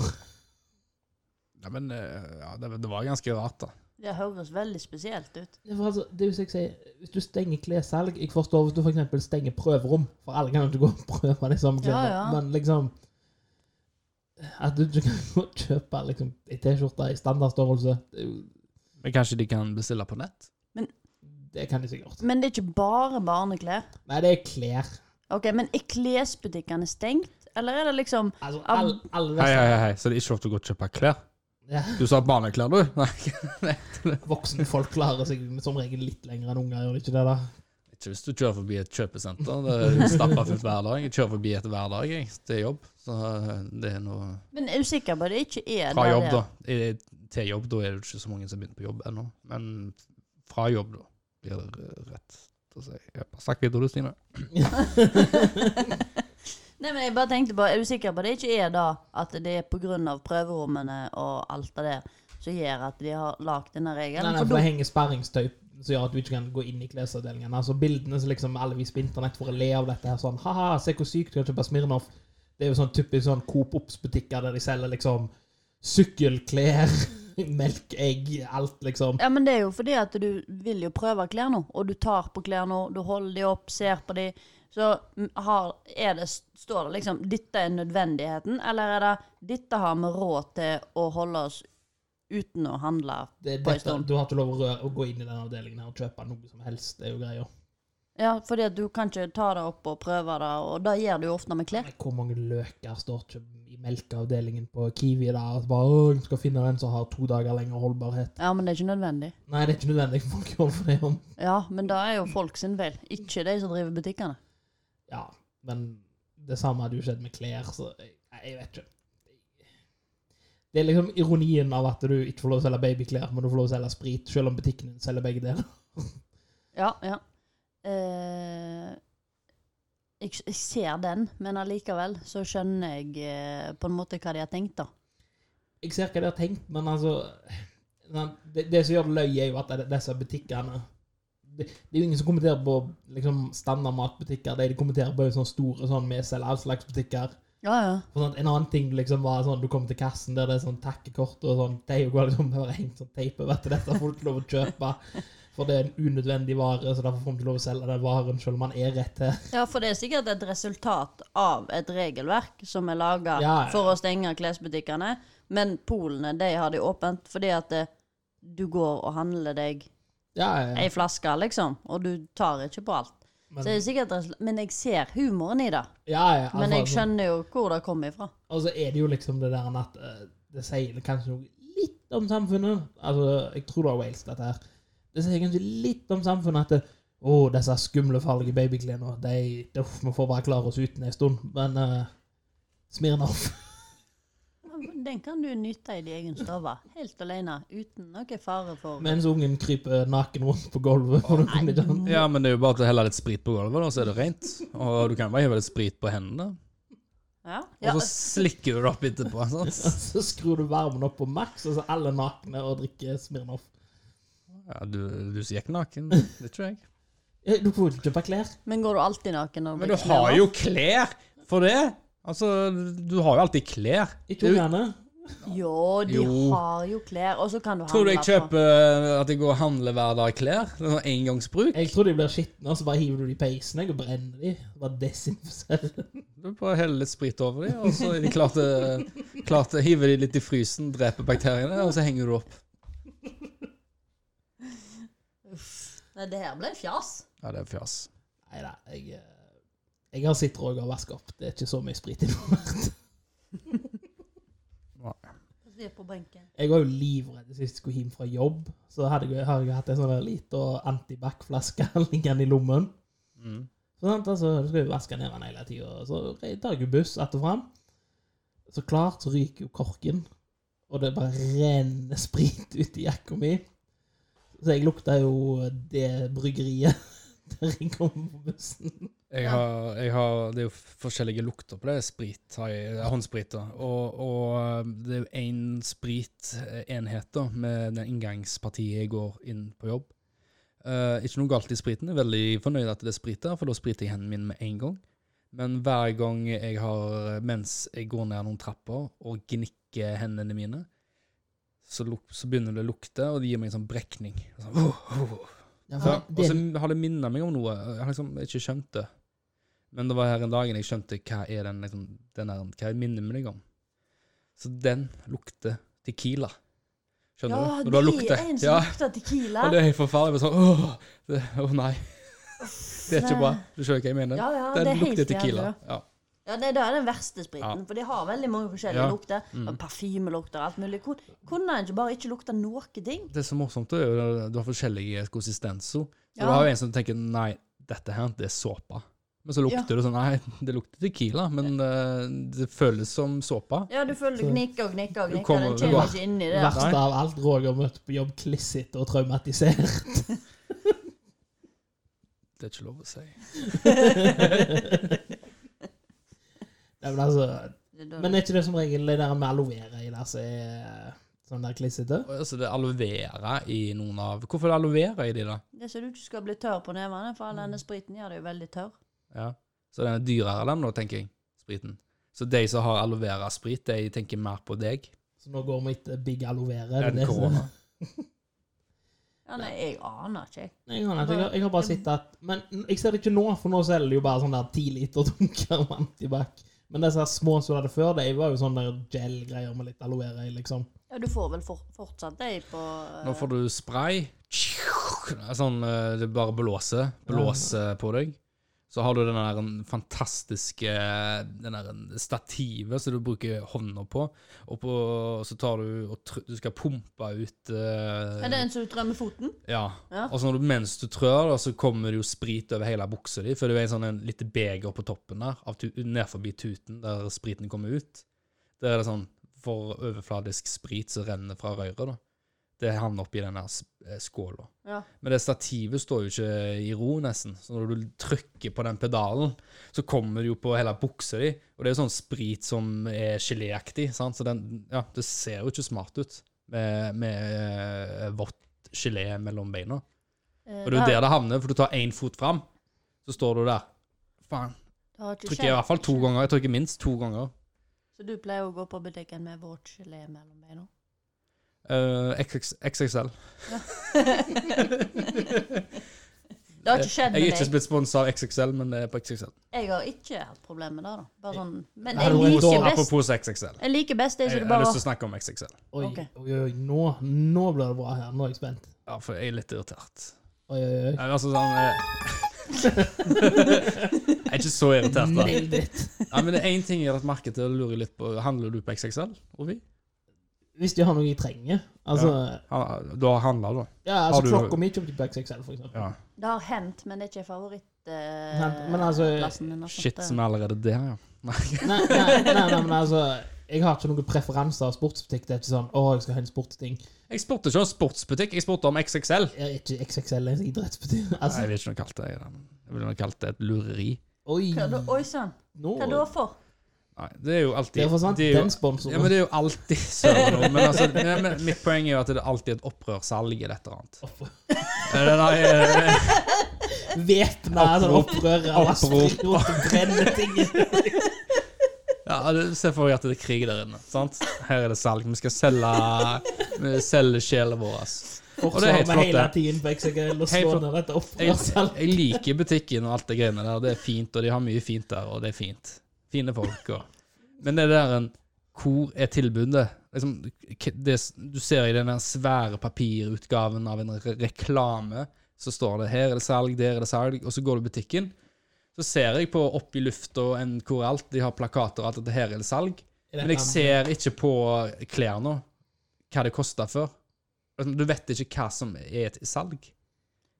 Speaker 1: Ja, men eh, ja, det, det var ganske rart, da.
Speaker 2: Det høres veldig spesielt ut.
Speaker 3: Det er for altså, det er jo som jeg sier, Hvis du stenger klessalg Jeg forstår hvis du f.eks. stenger prøverom, for alle kan jo ikke gå og prøve de samme klærne,
Speaker 2: Ja, ja.
Speaker 3: men liksom At du ikke kan gå og kjøpe liksom, ei T-skjorte i standardstørrelse, det, er jo-
Speaker 1: Men kanskje de kan bestille på nett?
Speaker 3: det kan de sikkert.
Speaker 2: Men det er ikke bare barneklær.
Speaker 3: Nei, det er klær.
Speaker 2: Ok, Men er klesbutikkene stengt, eller er det liksom
Speaker 3: Altså, alle, alle
Speaker 1: Hei,
Speaker 3: disse
Speaker 1: hei, hei, så det er ikke lov til å gå og kjøpe klær?
Speaker 3: ja,
Speaker 1: Du sa barneklær, du? Nei,
Speaker 3: Voksne folk klarer seg som regel litt lenger enn unger, gjør de ikke det? da?
Speaker 1: ikke hvis du kjører forbi et kjøpesenter. Det er stappa fullt hver dag. Jeg kjører forbi et hver dag jeg, til jobb. Så eh, det er noe
Speaker 2: Men er du sikker på at det ikke er
Speaker 1: Fra
Speaker 2: der
Speaker 1: jobb,
Speaker 2: det er?
Speaker 1: da. I- Til jobb, da er det ikke så mange som begynner på jobb ennå. Men fra jobb, da, blir det eh, rett til å si. Ja, Snakk videre, du, Stine.
Speaker 2: Nei, men jeg bare tenkte på, Er du sikker på at det ikke er da at det er pga. prøverommene og alt det der som gjør at de har lagd denne
Speaker 3: Nei,
Speaker 2: regelen?
Speaker 3: nei,
Speaker 2: For
Speaker 3: for det
Speaker 2: da-
Speaker 3: henger sperringstøy som gjør at du ikke kan gå inn i klesavdelingen. Altså Bildene som liksom alle viser på internett for å le av dette her sånn Haha, se hvor sykt du kan kjøpe Smirnov. Det er jo sånn typisk sånn Coop Ops-butikker der de selger liksom sykkelklær, melk, egg, alt liksom.
Speaker 2: Ja, men Det er jo fordi at du vil jo prøve klær nå, og du tar på klær nå, du holder de opp, ser på de. Så mm, har, er det, står det liksom 'dette er nødvendigheten', eller er det 'dette har vi råd til å holde oss uten å handle'?
Speaker 3: Det,
Speaker 2: På en
Speaker 3: dette,
Speaker 2: stund.
Speaker 3: du har ikke lov å, røre, å gå inn i den avdelingen her og kjøpe noe som helst. Det er jo greia.
Speaker 2: Ja, fordi at du kan ikke ta det opp og prøve det, og det gjør du jo ofte med klær.
Speaker 3: Men Hvor mange løker står ikke i melkeavdelingen på Kiwi der? at Bare, Åh, jeg skal finne en som har to dager lengre holdbarhet.
Speaker 2: Ja, men det er ikke nødvendig.
Speaker 3: Nei, det er ikke nødvendig for folk å holde for det om.
Speaker 2: Ja, men det er jo folk sin feil, ikke de som driver butikkene.
Speaker 3: Ja, men det samme hadde jo skjedd med klær, så jeg, nei, jeg vet ikke. Det er liksom ironien av at du ikke får lov å selge babyklær, men du får lov å selge sprit, selv om butikken din selger begge deler.
Speaker 2: Ja, ja. eh, jeg, jeg ser den, men allikevel så skjønner jeg eh, på en måte hva de har tenkt, da.
Speaker 3: Jeg ser hva de har tenkt, men altså sant, Det, det som gjør det løye, er jo at det- disse butikkene det, det er jo ingen som kommenterer på liksom, standard matbutikker. Det de kommenterer på, er jo sånne store sånn, vi selger all slags butikker.
Speaker 2: Ja, ja.
Speaker 3: Og sånn, en annen ting liksom var sånn, du kommer til kassen der det er sånn takkekort og sånn teip, og liksom bare hengt sånn teip over at dette får du ikke lov å kjøpe, for det er en unødvendig vare, så derfor får du ikke lov å selge den varen selv om man er rett her.
Speaker 2: Ja, for det er sikkert et resultat av et regelverk som er laga
Speaker 3: Ja, ja.
Speaker 2: for å stenge klesbutikkene. Men polene, de har de åpent fordi at eh, du går og handler deg
Speaker 3: Ja, ja,
Speaker 2: ei flaske, liksom, og du tar ikke på alt.
Speaker 3: Men-
Speaker 2: så det er sikkert et resula- Men jeg ser humoren i det.
Speaker 3: ja, ja, altså,
Speaker 2: Men jeg skjønner jo hvor det kommer ifra.
Speaker 3: Og så er det jo liksom det der at eh, det sier kanskje noe litt om samfunnet. Altså, jeg tror det er Wales, dette her. Det sier kanskje litt om samfunnet at det, å, disse skumle, farlige babyklærne, de, uff, vi får bare klare oss uten en stund. Men uh, Smirnoff
Speaker 2: Den kan du nyte i din egen stue, helt alene, uten noe fare for
Speaker 3: Mens ungen kryper naken rundt på gulvet. for å komme i
Speaker 2: Mm.
Speaker 3: døren.
Speaker 1: Ja, men det er jo bare til å helle litt sprit på gulvet, da, så er det rent. Og du kan bare hive litt sprit på hendene.
Speaker 2: Ja, ja.
Speaker 1: Og så slikker du det opp etterpå. Sant?
Speaker 3: Så skrur du varmen opp på maks, og så er alle nakne og drikker Smirnoff.
Speaker 1: Ja, du, du som gikk naken. Det tror jeg.
Speaker 3: Eh, Du får jo ikke kjøpe klær.
Speaker 2: Men går du alltid naken? når
Speaker 1: Men du har
Speaker 2: blir klar?
Speaker 1: jo klær for det! Altså, du har jo alltid klær.
Speaker 3: Ikke ungene.
Speaker 2: Jo, de
Speaker 1: Jo.
Speaker 2: har jo klær, og så kan du
Speaker 1: Tror du
Speaker 2: handle
Speaker 1: jeg
Speaker 2: på-
Speaker 1: kjøper eh, at jeg går og handler hver dag klær? Det er sånn Engangsbruk?
Speaker 3: Jeg tror de blir skitne, og så bare hiver du de i peisen jeg, og brenner de. Bare desinfiserer.
Speaker 1: Du bare heller litt sprit over dem, og så er de klart til- klart til- hiver de litt i frysen, dreper bakteriene, og så henger du opp.
Speaker 2: Nei, det her ble fjas.
Speaker 1: Ja, det er fjas.
Speaker 3: Nei da, jeg, eh, jeg har sitt og vaske opp. Det er ikke så mye sprit involvert.
Speaker 2: Vi er på benken.
Speaker 3: Jeg var jo livredd sist jeg skulle hjem fra jobb. Så hadde jeg, har jeg hatt en sånn der lita antibac-flaske liggende i lommen.
Speaker 1: Mm.
Speaker 3: Sånn, altså, du skal jo vaske ned den hele tida. Så tar jeg jo buss att og fram. Så klart så ryker jo korken, og det bare renner sprit ut i jakka mi. Så jeg lukta jo det bryggeriet der jeg kom på bussen.
Speaker 1: Jeg har, jeg har, det er jo forskjellige lukter på det. Sprit, har jeg, det er håndsprit. da. Og, og det er jo én spritenhet da, med den inngangspartiet jeg går inn på jobb. Eh, ikke noe galt i spriten. Jeg er veldig fornøyd at det er sprit der, for da spriter jeg hendene mine med en gang. Men hver gang jeg har, eh, mens jeg går ned noen trapper og gnikker hendene mine, så, luk, så begynner det å lukte, og det gir meg en sånn brekning. Sånn,
Speaker 3: Ja,
Speaker 1: ja,
Speaker 3: for
Speaker 1: Altså, og
Speaker 3: det,
Speaker 1: så har det minnet meg om noe. Jeg har liksom ikke skjønt det. Men det var her en dag jeg skjønte hva er den, liksom, den der, hva er minnet meg om. Så den lukter tequila. Skjønner
Speaker 2: Ja,
Speaker 1: du? Når du har
Speaker 2: det er en sånn-
Speaker 1: luktet.
Speaker 2: som
Speaker 1: Ja,
Speaker 2: lukter tequila.
Speaker 1: og det er helt forferdelig. Jeg var Sånn, åh, det, åh, nei. Det er ikke bra. Du skjønner hva jeg mener?
Speaker 2: Ja, ja, det er
Speaker 1: den
Speaker 2: helt
Speaker 1: lukter
Speaker 2: jævlig,
Speaker 1: tequila.
Speaker 2: da.
Speaker 1: Ja.
Speaker 2: Ja, det, det er den verste spriten, for de har veldig mange forskjellige
Speaker 1: Ja. Mm.
Speaker 2: lukter. Og Parfymelukter og alt mulig. Kun- Kunne en ikke bare ikke lukte noe ting?
Speaker 1: Det som er morsomt, er jo at du har forskjellige konsistenser. Så
Speaker 2: Ja.
Speaker 1: du har jo en som tenker nei, dette her, det er såpe. Men så lukter det sånn nei, det lukter tequila, men eh, det føles som såpe.
Speaker 2: Ja, du føler du gnikker og gnikker og
Speaker 1: Du
Speaker 2: gnikker.
Speaker 1: kommer-
Speaker 2: Den
Speaker 1: du
Speaker 2: kommer
Speaker 1: går-
Speaker 2: ikke inn i det.
Speaker 3: verste av alt Roger møtte på jobb, klissete og traumatisert.
Speaker 1: Det er ikke lov å si.
Speaker 3: Nei, men, altså,
Speaker 2: Det er da-
Speaker 3: men er ikke det som regel det der med aloe vera i der som er sånn der klissete?
Speaker 1: Altså, det er aloe vera i noen av Hvorfor er det aloe vera i de, da?
Speaker 2: Det er så du ikke skal bli tørr på nevene, for all denne spriten gjør deg jo veldig tørr.
Speaker 1: Ja. Så den er dyrere, den, nå, tenker jeg. Spriten. Så de som har aloe vera-sprit, de tenker mer på deg
Speaker 3: Så nå går vi etter big aloe vera. er
Speaker 1: enn
Speaker 3: det det som-
Speaker 1: korona.
Speaker 2: Ja, nei, jeg aner ikke, jeg.
Speaker 3: Nei, jeg, aner ikke. jeg, har- jeg har bare sett at Men jeg ser det ikke nå, for nå selger de jo bare sånn der ti liter dunker med antibac. Men disse små som du hadde før, de var jo sånne der gel-greier med litt aloe vera i, liksom.
Speaker 2: Ja, du får vel for, fortsatt deg på eh,
Speaker 1: Nå får du spray. Sånn eh, det bare blåser. Blåser på deg. Så har du den der en fantastiske den der en stativet som du bruker hånda på, og på, så tar du og tr Du skal pumpe ut eh,
Speaker 2: Er det en som du trømmer foten?
Speaker 1: Ja.
Speaker 2: Ja.
Speaker 1: Og så når du, mens du trør, da, så kommer det jo sprit over hele buksa di, for det er jo en sånn en lite beger på toppen der, av tu ned forbi tuten, der spriten kommer ut. Der er det sånn for overfladisk sprit som renner fra røret, da. det havner oppi den der s- eh, skåla.
Speaker 2: Ja.
Speaker 1: Men det stativet står jo ikke i ro, nesten. Så når du trykker på den pedalen, så kommer det jo på hele buksa di. Og det er jo sånn sprit som er geléaktig, sant? så den, ja, det ser jo ikke smart ut med, med eh, vått gelé mellom beina.
Speaker 2: Eh,
Speaker 1: Og det er jo der det havner, for du tar én fot fram, så står du der. Faen.
Speaker 2: det har ikke
Speaker 1: Trykker jeg i
Speaker 2: skjedd.
Speaker 1: hvert fall to ganger. Jeg trykker minst to ganger.
Speaker 2: Så du pleier å gå på butikken med vårt gelé mellom beina?
Speaker 1: Eh, XX, XXL.
Speaker 2: Det har ikke skjedd
Speaker 1: Jeg er
Speaker 2: med
Speaker 1: ikke
Speaker 2: deg.
Speaker 1: blitt sponsa av XXL, men det er på XXL.
Speaker 2: Jeg har ikke hatt problemer med det. da. Bare sånn. Men
Speaker 3: Har
Speaker 2: jeg
Speaker 3: du vært
Speaker 2: liker
Speaker 3: dårlig?
Speaker 2: best,
Speaker 1: Apropos XXL.
Speaker 2: jeg liker best det
Speaker 1: Jeg,
Speaker 2: som
Speaker 1: jeg
Speaker 2: du
Speaker 1: har
Speaker 2: bare
Speaker 1: lyst til å snakke om XXL.
Speaker 3: Oi,
Speaker 2: Ok.
Speaker 3: oi, oi, nå, nå blir det bra her. Nå er jeg spent.
Speaker 1: Ja, for jeg er litt irritert.
Speaker 3: Oi, oi, oi.
Speaker 1: Nei, men altså sånn eh, Jeg er ikke så irritert, da.
Speaker 3: Nailed it.
Speaker 1: Nei, men det er én ting jeg har lagt merke til og lurer litt på. Handler du på XXL, Ovi?
Speaker 3: Hvis de har noe jeg trenger. Altså,
Speaker 1: Ja, Du har handla, da?
Speaker 3: ja,
Speaker 1: Har
Speaker 3: altså
Speaker 1: du-
Speaker 3: klokka mi kjøpte jeg på XXL, for eksempel.
Speaker 1: Ja.
Speaker 2: Det har hendt, men det er ikke eh,
Speaker 3: Men- men altså-
Speaker 2: favorittplassen min. altså.
Speaker 1: Shit,
Speaker 2: Det-
Speaker 1: som er allerede der, ja. Nei.
Speaker 3: Nei, nei, nei, nei, men altså Jeg har ikke noen preferanser av sportsbutikk. Det er ikke sånn å, jeg skal ha en sportsting.
Speaker 1: Jeg spurte ikke om sportsbutikk, jeg spurte om XXL.
Speaker 3: Jeg er ikke XXL, jeg er idrettsbutikk.
Speaker 1: Nei,
Speaker 3: Altså,
Speaker 1: jeg vil ikke noe kalt det. jeg, da, men Jeg ville nok kalt det et lureri.
Speaker 3: oi.
Speaker 2: Hva da- Oi sann,
Speaker 3: Nå.
Speaker 2: hva da for?
Speaker 1: Nei, det er jo alltid
Speaker 3: Det er for sant.
Speaker 1: det er jo,
Speaker 3: Den sponsoren.
Speaker 1: Ja, men det er jo alltid søren om, Men altså, nei, men mitt poeng er jo at det er alltid et opprørssalg i dette eller annet. Eh, Nei, eh,
Speaker 3: Væpna sånn
Speaker 1: Opprop.
Speaker 3: opprør av
Speaker 1: Opprop.
Speaker 3: asfalt og brenne ting.
Speaker 1: Ja, du- Se for deg at det er krig der inne. sant? Her er det salg. Vi skal selge, vi selger sjelen vår. ass. det er
Speaker 3: Forsvar
Speaker 1: helt
Speaker 3: med
Speaker 1: flott,
Speaker 3: hele
Speaker 1: det.
Speaker 3: tiden på XXL og
Speaker 1: Helt
Speaker 3: slå
Speaker 1: flott.
Speaker 3: ned dette
Speaker 1: Jeg,
Speaker 3: opprøret.
Speaker 1: jeg liker butikken og alt det greiene der. Det er fint, og de har mye fint der, og det er fint. Fine folk. Og. Men det der en Hvor er tilbudet? Liksom, k- det, s- du ser i den der svære papirutgaven av en re reklame, så står det 'her er det salg', 'der er det salg', og så går du i butikken. Så ser jeg på opp i lufta en hvor alt, de har plakater og alt, at 'her er det salg'. Men jeg ser ikke på klær nå hva det kosta før. Altså, Du vet ikke hva som er et salg.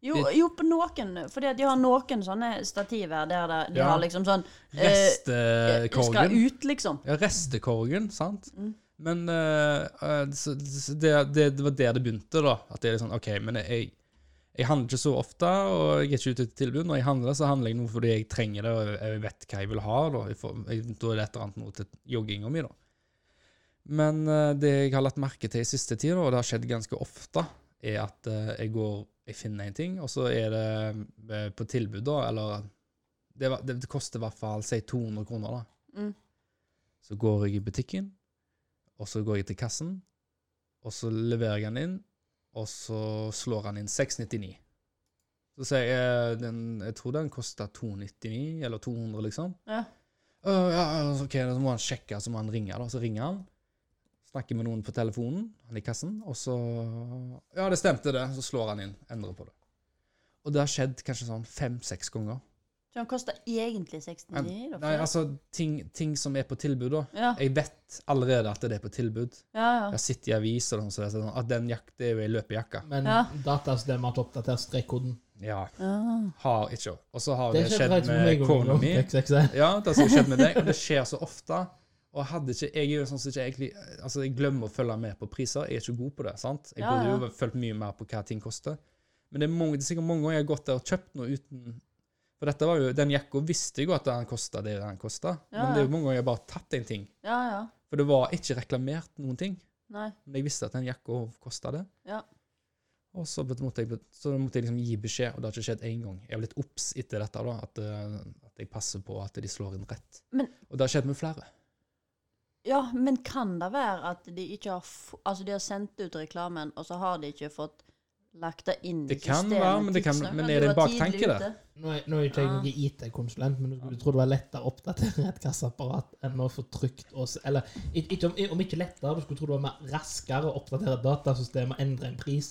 Speaker 2: Jo, jo, på noen, fordi at de har noen sånne stativer der det- de
Speaker 1: Ja.
Speaker 2: har liksom sånn eh, Skal
Speaker 1: Restekorgen.
Speaker 2: ut, liksom.
Speaker 1: Ja, restekorgen, sant. Men eh, eh, så- så det, det, det var der det begynte, da. At det er liksom OK, men jeg, jeg handler ikke så ofte, og jeg er ikke ute til tilbud. Når jeg handler, så handler jeg noe fordi jeg trenger det, og jeg- jeg vet hva jeg vil ha. Da, jeg får, jeg, da er det et eller annet noe til jogginga mi, da. Men eh, det jeg har lagt merke til i siste tid, da, og det har skjedd ganske ofte, er at eh, jeg går jeg finner en ting, og så er det eh, på tilbud, da, eller Det, var- det, det koster i hvert fall si 200 kroner, da.
Speaker 2: Mm.
Speaker 1: Så går jeg i butikken, og så går jeg til kassen, og så leverer jeg den inn, og så slår han inn 699. Så sier jeg eh, den, jeg tror den kosta 299 eller 200, liksom.
Speaker 2: Ja.
Speaker 1: «Å, ja, ja, ok, Så må han sjekke, så må han ringe. da, Så ringer han. Snakker med noen på telefonen, han i kassen, og så Ja, det stemte, det. Så slår han inn. Endrer på det. Og det har skjedd kanskje sånn fem-seks ganger.
Speaker 2: Så den koster egentlig 69? da, for
Speaker 1: Nei,
Speaker 2: det.
Speaker 1: altså, ting, ting som er på tilbud, da.
Speaker 2: ja,
Speaker 1: Jeg vet allerede at det er på tilbud.
Speaker 2: ja, ja.
Speaker 1: Jeg sitter i aviser og sånn, så det er sånn at den jak- det er jo ei løpejakke.
Speaker 3: Men
Speaker 2: Ja.
Speaker 3: datasystemet har ikke oppdatert strekkoden.
Speaker 1: Ja,
Speaker 2: Ah.
Speaker 1: har ikke. Og så har
Speaker 3: Det
Speaker 1: det,
Speaker 3: skjedde
Speaker 1: skjedd
Speaker 3: faktisk med
Speaker 1: med
Speaker 3: meg
Speaker 1: kona mi.
Speaker 3: òg.
Speaker 1: Ja, det har skjedd med deg, og det skjer så ofte. Og hadde ikke, jeg er jo sånn som ikke egentlig Altså, jeg glemmer å følge med på priser. Jeg er ikke god på det. sant? Jeg
Speaker 2: Ja,
Speaker 1: burde
Speaker 2: ja.
Speaker 1: jo fulgt mye mer på hva ting koster. Men det er, mange, det er sikkert mange ganger jeg har gått der og kjøpt noe uten For dette var jo, den jakka visste jeg jo at den kosta det den kosta,
Speaker 2: Ja,
Speaker 1: men det er
Speaker 2: ja.
Speaker 1: jo mange ganger jeg bare har tatt en ting.
Speaker 2: Ja, ja.
Speaker 1: For det var ikke reklamert noen ting.
Speaker 2: Nei.
Speaker 1: Men jeg visste at den jakka kosta det.
Speaker 2: Ja.
Speaker 1: Og så bet- måtte jeg, så måtte jeg liksom gi beskjed, og det har ikke skjedd én gang. Jeg har blitt obs etter dette, da, at, eh, at jeg passer på at de slår inn rett.
Speaker 2: Men-
Speaker 1: og det har skjedd med flere.
Speaker 2: Ja, men kan det være at de ikke har f Altså, de har sendt ut reklamen, og så har de ikke fått lagt det inn i
Speaker 1: Det kan
Speaker 2: systemet
Speaker 1: være, men det kan-
Speaker 2: tidsnok,
Speaker 1: men
Speaker 2: at
Speaker 1: er
Speaker 2: de
Speaker 1: det en
Speaker 2: var tidlig
Speaker 1: baktanke der?
Speaker 2: ute?
Speaker 3: Nå er, nå er ikke jeg noen IT-konsulent, men du skulle tro det var lettere å oppdatere et kassaapparat enn å få trykt oss Eller ikke, ikke om, om ikke lettere, du skulle tro det var mer raskere å oppdatere et datasystem og endre en pris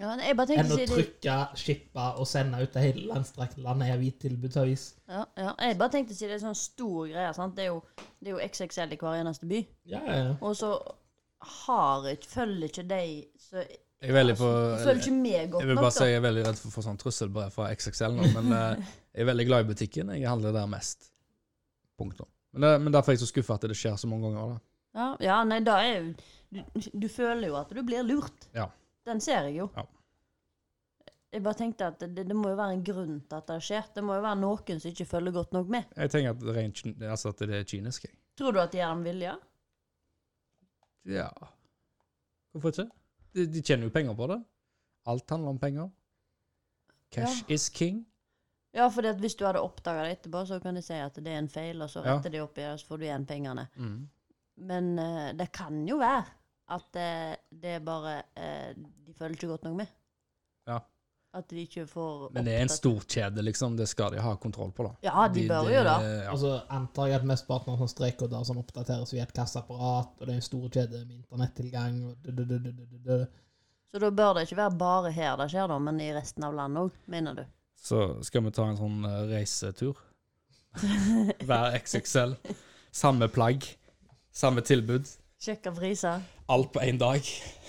Speaker 2: Ja, nei, jeg bare tenker
Speaker 3: enn å
Speaker 2: siden de-
Speaker 3: trykke, shippe og sende ut til hele landstrakte landet i avis-tilbudsavis.
Speaker 2: Ja, ja. Jeg bare tenkte siden det er sånn stor greie, sant. Det er jo, det er jo XXL i hver eneste by.
Speaker 3: Ja, ja, ja.
Speaker 2: Og så har ikke Følger ikke de så
Speaker 1: Jeg er veldig på
Speaker 2: Følger ikke med godt
Speaker 1: Jeg vil
Speaker 2: nok,
Speaker 1: bare
Speaker 2: da.
Speaker 1: si jeg er veldig redd for å få sånn trusselbrev fra XXL nå, men eh, jeg er veldig glad i butikken. Jeg handler der mest. Punktum. Men, det, men derfor er jeg så skuffa at det skjer så mange ganger. da.
Speaker 2: Ja, ja nei, da er jo du, du føler jo at du blir lurt.
Speaker 1: Ja.
Speaker 2: Den ser jeg jo.
Speaker 1: Ja.
Speaker 2: Jeg bare tenkte at det, det må jo være en grunn til at det skjer. Det må jo være noen som ikke følger godt nok med.
Speaker 1: Jeg tenker at det er, rent, kin- altså at det er kynisk. jeg.
Speaker 2: Tror du at de gjør det med vilje?
Speaker 1: Ja. Hvorfor ikke? De, de tjener jo penger på det. Alt handler om penger. Cash is king.
Speaker 2: Ja, for hvis du hadde oppdaga det etterpå, så kan de si at det er en feil, og så
Speaker 1: Ja.
Speaker 2: retter de opp i det, og så får du igjen pengene.
Speaker 1: Mm.
Speaker 2: Men eh, det kan jo være at eh, det er bare eh, De følger ikke godt nok med.
Speaker 1: Ja.
Speaker 2: At de ikke får
Speaker 1: Men det er en
Speaker 2: opptatt-
Speaker 1: storkjede, liksom. Det skal de ha kontroll på, da.
Speaker 2: Ja, de bør jo det.
Speaker 1: ja.
Speaker 3: Og så antar jeg at mesteparten av sånne strekkoder som oppdateres via et kasseapparat, og det er en stor kjede med internettilgang og dø, dø, dø, dø, dø, dø.
Speaker 2: Så da bør det ikke være bare her det skjer, da, men i resten av landet òg, mener du?
Speaker 1: Så skal vi ta en sånn eh, reisetur. Hver XXL. Samme plagg. Samme tilbud.
Speaker 2: Sjekke priser.
Speaker 1: Alt på én dag.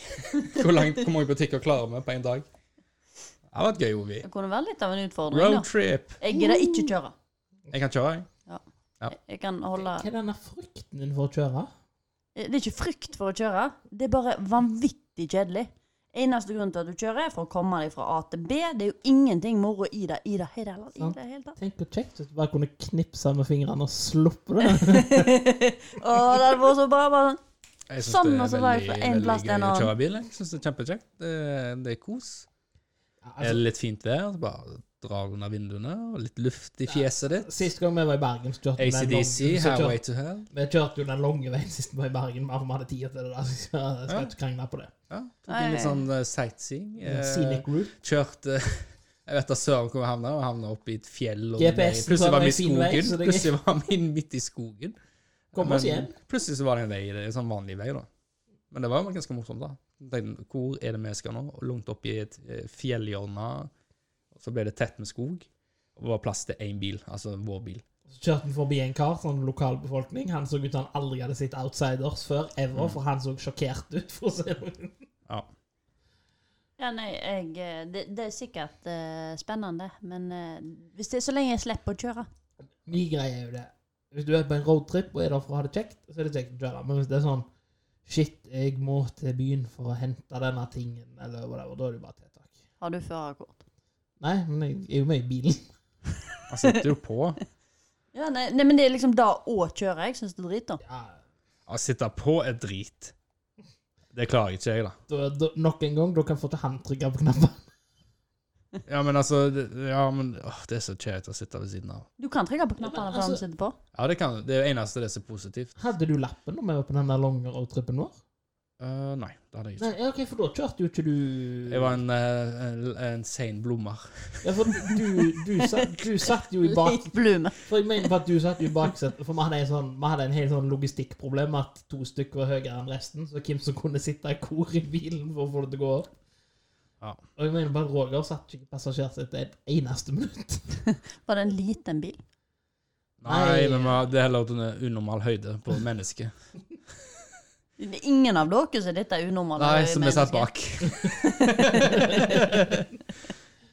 Speaker 1: hvor, langt, hvor mange butikker klarer vi på én dag? Det hadde vært gøy, Ovi.
Speaker 2: Det kunne være litt av en utfordring, da.
Speaker 1: Roadtrip.
Speaker 2: Jeg gidder ikke kjøre.
Speaker 1: Jeg kan kjøre, jeg. Ja.
Speaker 2: Jeg- Jeg kan holde
Speaker 3: Hva er denne frykten din for å kjøre?
Speaker 2: Det er ikke frykt for å kjøre, det er bare vanvittig kjedelig. Eneste grunnen til at du kjører, er for å komme deg fra A til B. Det er jo ingenting moro i det i det hele tatt. I
Speaker 1: Sånn.
Speaker 3: Sant.
Speaker 2: det hele tatt.
Speaker 3: Tenk hvor kjekt hvis du bare kunne knipse med fingrene og sluppe det.
Speaker 2: Å, det hadde vært så bra. Bare sånn.
Speaker 1: Jeg synes
Speaker 2: Sånn,
Speaker 1: det er
Speaker 2: og så var jeg fra
Speaker 1: veldig-
Speaker 2: en
Speaker 1: veldig
Speaker 2: plass til en
Speaker 1: gøy å
Speaker 2: annen.
Speaker 1: Kjøre bil, jeg synes det er kjempekjekt. Det, det er kos.
Speaker 3: Ja,
Speaker 1: er
Speaker 3: altså,
Speaker 1: det litt fint vær, så bare drar du under vinduene, og litt luft i fjeset ditt.
Speaker 3: Sist gang vi var i Bergen, så kjørte vi den lange-
Speaker 1: ACDC,
Speaker 3: så kjørte-
Speaker 1: Highway to Hell.
Speaker 3: Vi kjørte jo den lange veien sist vi var i Bergen, bare for vi hadde tid til det. der, så Jeg skal
Speaker 1: Ja.
Speaker 3: ikke krangle på det.
Speaker 1: Ja, tok
Speaker 2: Nei.
Speaker 1: en litt sånn eh, sightseeing. Eh,
Speaker 3: Scenic route.
Speaker 1: kjørte Jeg vet da søren hvor jeg havna, og havna oppe i et fjell. Og
Speaker 3: GPS-en
Speaker 1: plutselig
Speaker 3: sa
Speaker 1: var vi i
Speaker 3: det var en fin vei,
Speaker 1: skogen.
Speaker 3: så det er
Speaker 1: plutselig var vi midt i skogen.
Speaker 3: Kom oss hjem.
Speaker 1: plutselig så var det en vei, i det, en sånn vanlig vei, da. Men det var jo ganske morsomt, da. Jeg Tenkte, hvor er det vi skal nå? Og Langt opp i et eh, fjellhjørne. Og så ble det tett med skog. Og det var plass til én bil, altså vår bil.
Speaker 3: Så kjørte vi forbi en kar, sånn lokalbefolkning. Han så ut som han aldri hadde sett outsiders før, ever,
Speaker 1: Mm.
Speaker 3: for han så sjokkert ut. for å si det.
Speaker 1: Ja.
Speaker 2: Ja, nei, jeg, eh, det, det er sikkert eh, spennende, men eh, hvis det er så lenge jeg slipper å kjøre
Speaker 3: Min greie er jo det. Hvis du er på en roadtrip og er der for å ha det kjekt, så er det kjekt å kjøre. Men hvis det er sånn Shit, jeg må til byen for å hente denne tingen, eller whatever, da er det jo bare tiltak.
Speaker 2: Har du førerkort?
Speaker 3: Nei, men jeg er jo med i bilen.
Speaker 1: Han sitter jo på.
Speaker 2: Ja, nei, nei, men det er liksom da å kjøre. Jeg syns det er drit, da.
Speaker 3: Ja,
Speaker 1: Å sitte på er drit. Det klarer ikke jeg, da.
Speaker 3: da, da, nok en gang, da kan jeg få til han trykke på knappen.
Speaker 1: Ja, men altså det- Ja, men åh, Det er så kjedelig å sitte ved siden av.
Speaker 2: Du kan trykke på
Speaker 3: Ja,
Speaker 2: knappene før
Speaker 3: men
Speaker 2: du
Speaker 3: altså-
Speaker 2: sitter på.
Speaker 1: Ja, det kan Det er jo eneste det som er positivt.
Speaker 3: Hadde du lappen når vi var på den der lange roadtrippen vår?
Speaker 1: Eh, nei, det hadde jeg ikke.
Speaker 3: Nei, ja, ok, for da kjørte jo ikke du
Speaker 1: Jeg var en, eh, en, en sein blommer.
Speaker 3: Ja, for du, du, satt, du satt jo i bak...
Speaker 2: Litt blume.
Speaker 3: For jeg mener at du satt jo i baksetet, for vi hadde en sånn, vi hadde en helt sånn logistikkproblem med at to stykker var høyere enn resten, så hvem som kunne sitte i kor i bilen for å få det til å gå opp.
Speaker 1: Ja.
Speaker 3: Og jeg mener bare Roger satt ikke i passasjersetet et eneste minutt.
Speaker 2: Var det en liten bil?
Speaker 1: Nei,
Speaker 3: Nei.
Speaker 1: men vi hadde heller under unormal høyde på mennesket.
Speaker 2: Det er Ingen av dere som er dette unormale.
Speaker 1: Nei, som vi satt
Speaker 2: mennesker.
Speaker 1: bak.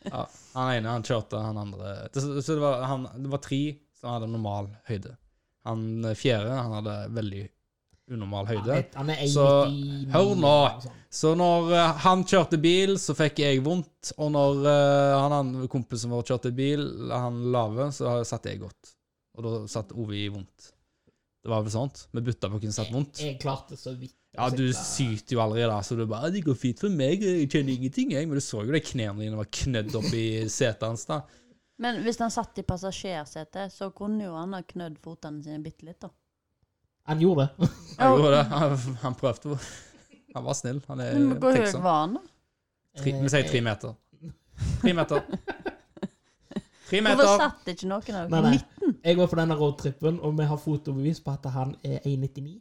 Speaker 1: ja, han ene han kjørte, han andre det, Så så det var, han, det var tre som hadde normal høyde. Han eh, fjerde han hadde veldig unormal høyde.
Speaker 3: Han er- Han er
Speaker 1: Så,
Speaker 3: 1,99,
Speaker 1: hør nå.
Speaker 3: eller sånn.
Speaker 1: Så når eh, han kjørte bil, så fikk jeg vondt. Og når eh, han andre kompisen vår kjørte bil, han lave, så satt jeg godt. Og da satt Ove i vondt. Det var vel sånt? Vi bytta på hvem som satt vondt.
Speaker 3: Jeg klarte så vidt. å
Speaker 1: Ja, du
Speaker 3: sitte-
Speaker 1: syter jo allerede, så du bare 'Det går fint for meg, jeg kjenner ingenting', jeg. Men du så jo de knærne dine var knødd opp i setet hans, da.
Speaker 2: Men hvis han satt i passasjersetet, så kunne jo han ha knødd fotene sine bitte litt, da.
Speaker 3: Han gjorde det.
Speaker 1: Han gjorde det. Han, han prøvde. jo. Han var snill. Han er sånn.
Speaker 2: Men Hvor høy
Speaker 1: tenksom.
Speaker 2: var han, da?
Speaker 1: Tre- Vi
Speaker 3: Eh,
Speaker 1: sier tre meter. Tre meter. Tre
Speaker 2: Hvorfor
Speaker 1: meter.
Speaker 2: satt ikke noen av
Speaker 3: Nei,
Speaker 2: dere
Speaker 3: nei.
Speaker 2: midt?
Speaker 3: Jeg var på denne roadtrippen, og vi har fotobevis på at han er 1,99.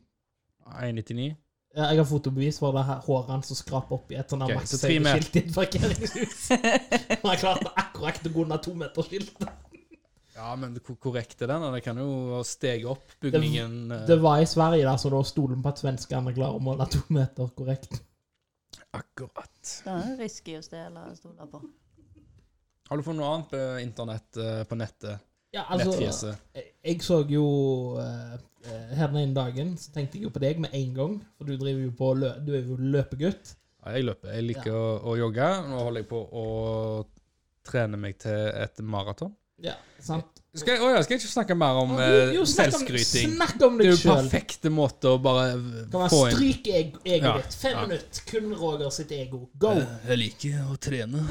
Speaker 1: 1,99.
Speaker 3: Ja, Jeg har fotobevis for det her håret hans som skraper opp i et sånt
Speaker 1: Ok,
Speaker 3: okay,
Speaker 1: så tre meter.
Speaker 3: makshøydeskilt i et parkeringshus. Han har klart akkurat å gå under tometerskiltet.
Speaker 1: Ja, men hvor korrekt er den? da? Det kan jo stege opp bygningen eh,
Speaker 3: Det var i Sverige, der, så da stoler vi på at svenskene klarer å måle to meter korrekt.
Speaker 1: Akkurat.
Speaker 2: Det er en risky å stjele stoler på.
Speaker 1: Har du funnet noe annet på internett, eh, på nettet?
Speaker 3: Ja, altså,
Speaker 1: Nettfjeset?
Speaker 3: jeg- jeg så jo eh, eh, her den ene dagen, så tenkte jeg jo på deg med en gang, for du driver jo på lø du er jo løpegutt.
Speaker 1: Ja, jeg løper. Jeg liker å, å jogge. Nå holder jeg på å trene meg til et maraton.
Speaker 3: Ja, sant?
Speaker 1: Skal jeg, åja, skal jeg ikke snakke mer om
Speaker 3: Jo,
Speaker 1: eh,
Speaker 3: jo, snakk om,
Speaker 1: selvskryting?
Speaker 3: snakk om
Speaker 1: Det er
Speaker 3: deg
Speaker 1: jo
Speaker 3: sjøl.
Speaker 1: perfekte måte å bare
Speaker 3: Kan man
Speaker 1: få inn
Speaker 3: stryke eg- egoet
Speaker 1: Ja,
Speaker 3: ditt? Fem
Speaker 1: ja. Eh,
Speaker 3: minutter. Kun Roger sitt ego. Go!
Speaker 1: Jeg liker å trene.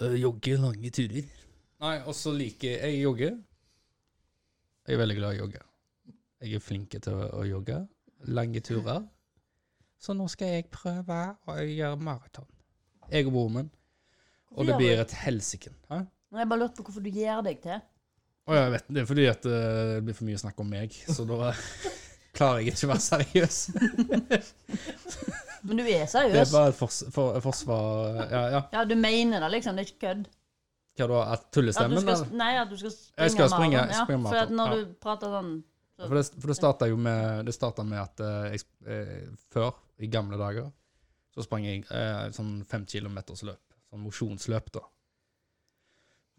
Speaker 1: Eh, Jogge lange turer. Nei, og så liker jeg jogge. Jeg er veldig glad i å jogge. Jeg er flink til å, å jogge. Lange turer. Så nå skal jeg prøve å gjøre maraton. Jeg og broren min. Og det blir et helsiken. Hæ?
Speaker 2: Jeg bare lurte på hvorfor du gjør deg til.
Speaker 1: Å, jeg vet, det er fordi at eh, det blir for mye snakk om meg, så da klarer jeg ikke å være seriøs.
Speaker 2: Men du er
Speaker 1: Det er
Speaker 2: seriøs.
Speaker 1: bare et fors for forsvar Ja, ja.
Speaker 2: Ja, du mener det, liksom. Det er ikke kødd.
Speaker 1: Hva da? At
Speaker 2: At du
Speaker 1: tullestemmen?
Speaker 2: skal,
Speaker 1: eller?
Speaker 2: nei, at du skal springe
Speaker 1: Jeg skal springe-
Speaker 2: maraton,
Speaker 1: springe
Speaker 2: Ja, for at
Speaker 1: maraton,
Speaker 2: når
Speaker 1: ja.
Speaker 2: du prater sånn
Speaker 1: Ja, For det, for det starta jo med Det startet med at eh, jeg, sp- eh, før, i gamle dager, så sprang jeg eh, sånn fem kilometers løp. Sånn mosjonsløp, da.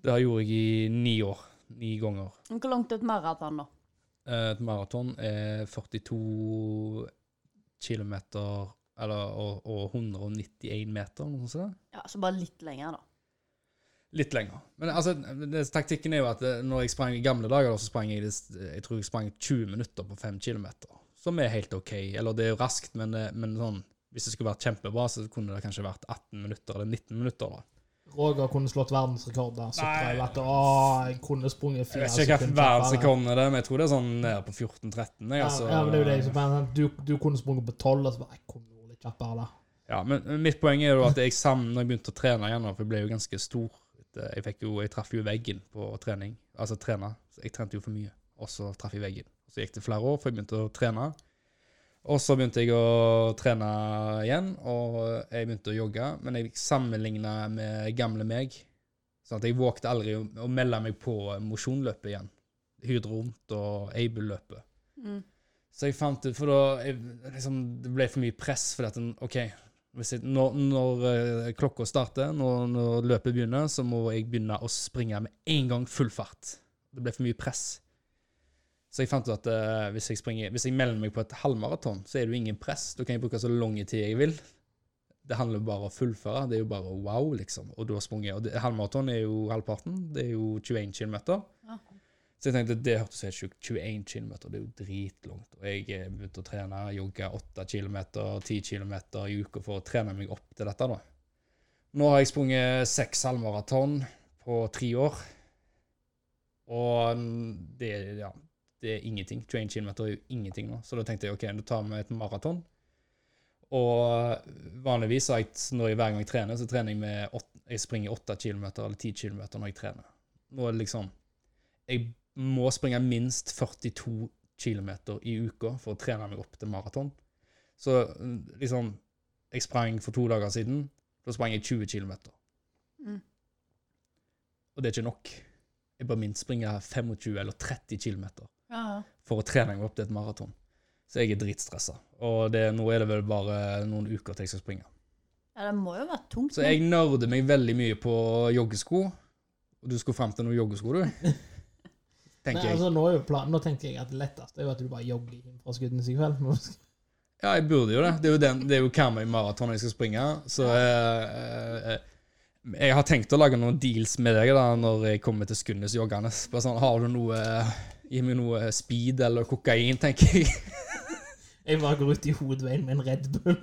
Speaker 1: Det gjorde jeg i ni år. Ni ganger.
Speaker 2: Men Hvor langt er et maraton, da?
Speaker 1: Eh, Et maraton er 42 kilometer eller, og, og 191 meter, noe sånt. som det.
Speaker 2: Ja, Så bare litt lenger, da.
Speaker 1: Litt lenger. Men altså, det, taktikken er jo at eh, når jeg sprang i gamle dager, da, så sprang jeg, det- jeg tror jeg sprang 20 minutter på 5 km. Som er helt OK. Eller det er jo raskt, men, eh, men sånn, hvis det skulle vært kjempebra, så kunne det kanskje vært 18 minutter eller 19 minutter. da.
Speaker 3: Roger kunne slått verdensrekorder. Så
Speaker 1: Nei.
Speaker 3: tror jeg at å, jeg kunne sprunget
Speaker 1: Jeg
Speaker 3: fire
Speaker 1: vet ikke hva
Speaker 3: sekunder kjappere.
Speaker 1: verdensrekorden er, det, men jeg tror det er sånn nede på 14-13. jeg,
Speaker 3: Ja,
Speaker 1: altså.
Speaker 3: ja, men det er jo det jeg som mener. Du, du kunne sprunget på tolv, og så bare Jeg kunne vært litt kjappere der.
Speaker 1: Ja, men men mitt poeng er jo at jeg sammen, når jeg begynte å trene igjen, da, for jeg ble jo ganske stor etter- Jeg, fikk jo, jeg traff jo veggen på trening. Altså trene. Så jeg trente jo for mye, og så traff jeg veggen. Så gikk det flere år, for jeg begynte å trene. Og så begynte jeg å trene igjen, og jeg begynte å jogge. Men jeg sammenligna med gamle meg. Sånn at jeg vågte aldri å, å melde meg på mosjonløpet igjen. Hydro rundt og Aibel-løpet.
Speaker 2: Mm.
Speaker 1: Så jeg fant ut, for da jeg, liksom, Det ble for mye press. For at, den- ok, hvis jeg, når, når eh, klokka starter, når, når løpet begynner, så må jeg begynne å springe med en gang full fart. Det ble for mye press. Så jeg fant ut at eh, hvis, jeg springer, hvis jeg melder meg på et halvmaraton, så er det jo ingen press. Da kan jeg bruke så lang tid jeg vil. Det handler bare om å fullføre. Det er jo bare wow, liksom. Og da sprang jeg. Og det, halvmaraton er jo halvparten. Det er jo 21 km.
Speaker 2: Ja.
Speaker 1: Så jeg tenkte, det hørtes helt sjukt. 21 km, det er jo dritlangt. Og jeg eh, begynte å trene, jogge 8 km, 10 km i uka for å trene meg opp til dette. da. Nå har jeg sprunget seks halvmaraton på tre år. Og det, er- ja, det er ingenting. 21 km er jo ingenting nå. Så da tenkte jeg ok, da tar vi et maraton. Og vanligvis har jeg, når jeg hver gang jeg trener, så trener jeg med åt- jeg springer 8 km eller 10 km når jeg trener. Nå er det liksom Jeg må springe minst 42 km i uka for å trene meg opp til maraton. Så mm, liksom Jeg sprang for to dager siden. Da sprang jeg 20 km.
Speaker 2: Mm.
Speaker 1: Og det er ikke nok. Jeg bør minst springe 25 eller 30 km
Speaker 2: Ja, ja.
Speaker 1: for å trene meg opp til et maraton. Så jeg er dritstressa. Og det, nå er det vel bare noen uker til jeg skal springe.
Speaker 2: ja, det må jo være tungt.
Speaker 1: Så jeg nerder meg veldig mye på joggesko. Og du skulle fram til noen joggesko, du? Tenker
Speaker 3: Nei,
Speaker 1: jeg.
Speaker 3: altså, nå, er jo planen, nå tenkte jeg at det letteste er jo at du bare jogger inn fra skuddene i kveld.
Speaker 1: Ja, jeg burde jo det. Det er jo, den, det er jo Karmøy maraton jeg skal springe. Så eh, eh, jeg har tenkt å lage noen deals med deg da, når jeg kommer til Skundes joggende. Bare sånn, har du noe Gi meg noe speed eller kokain, tenker jeg.
Speaker 3: Jeg bare går ut i hovedveien med en Red Bull.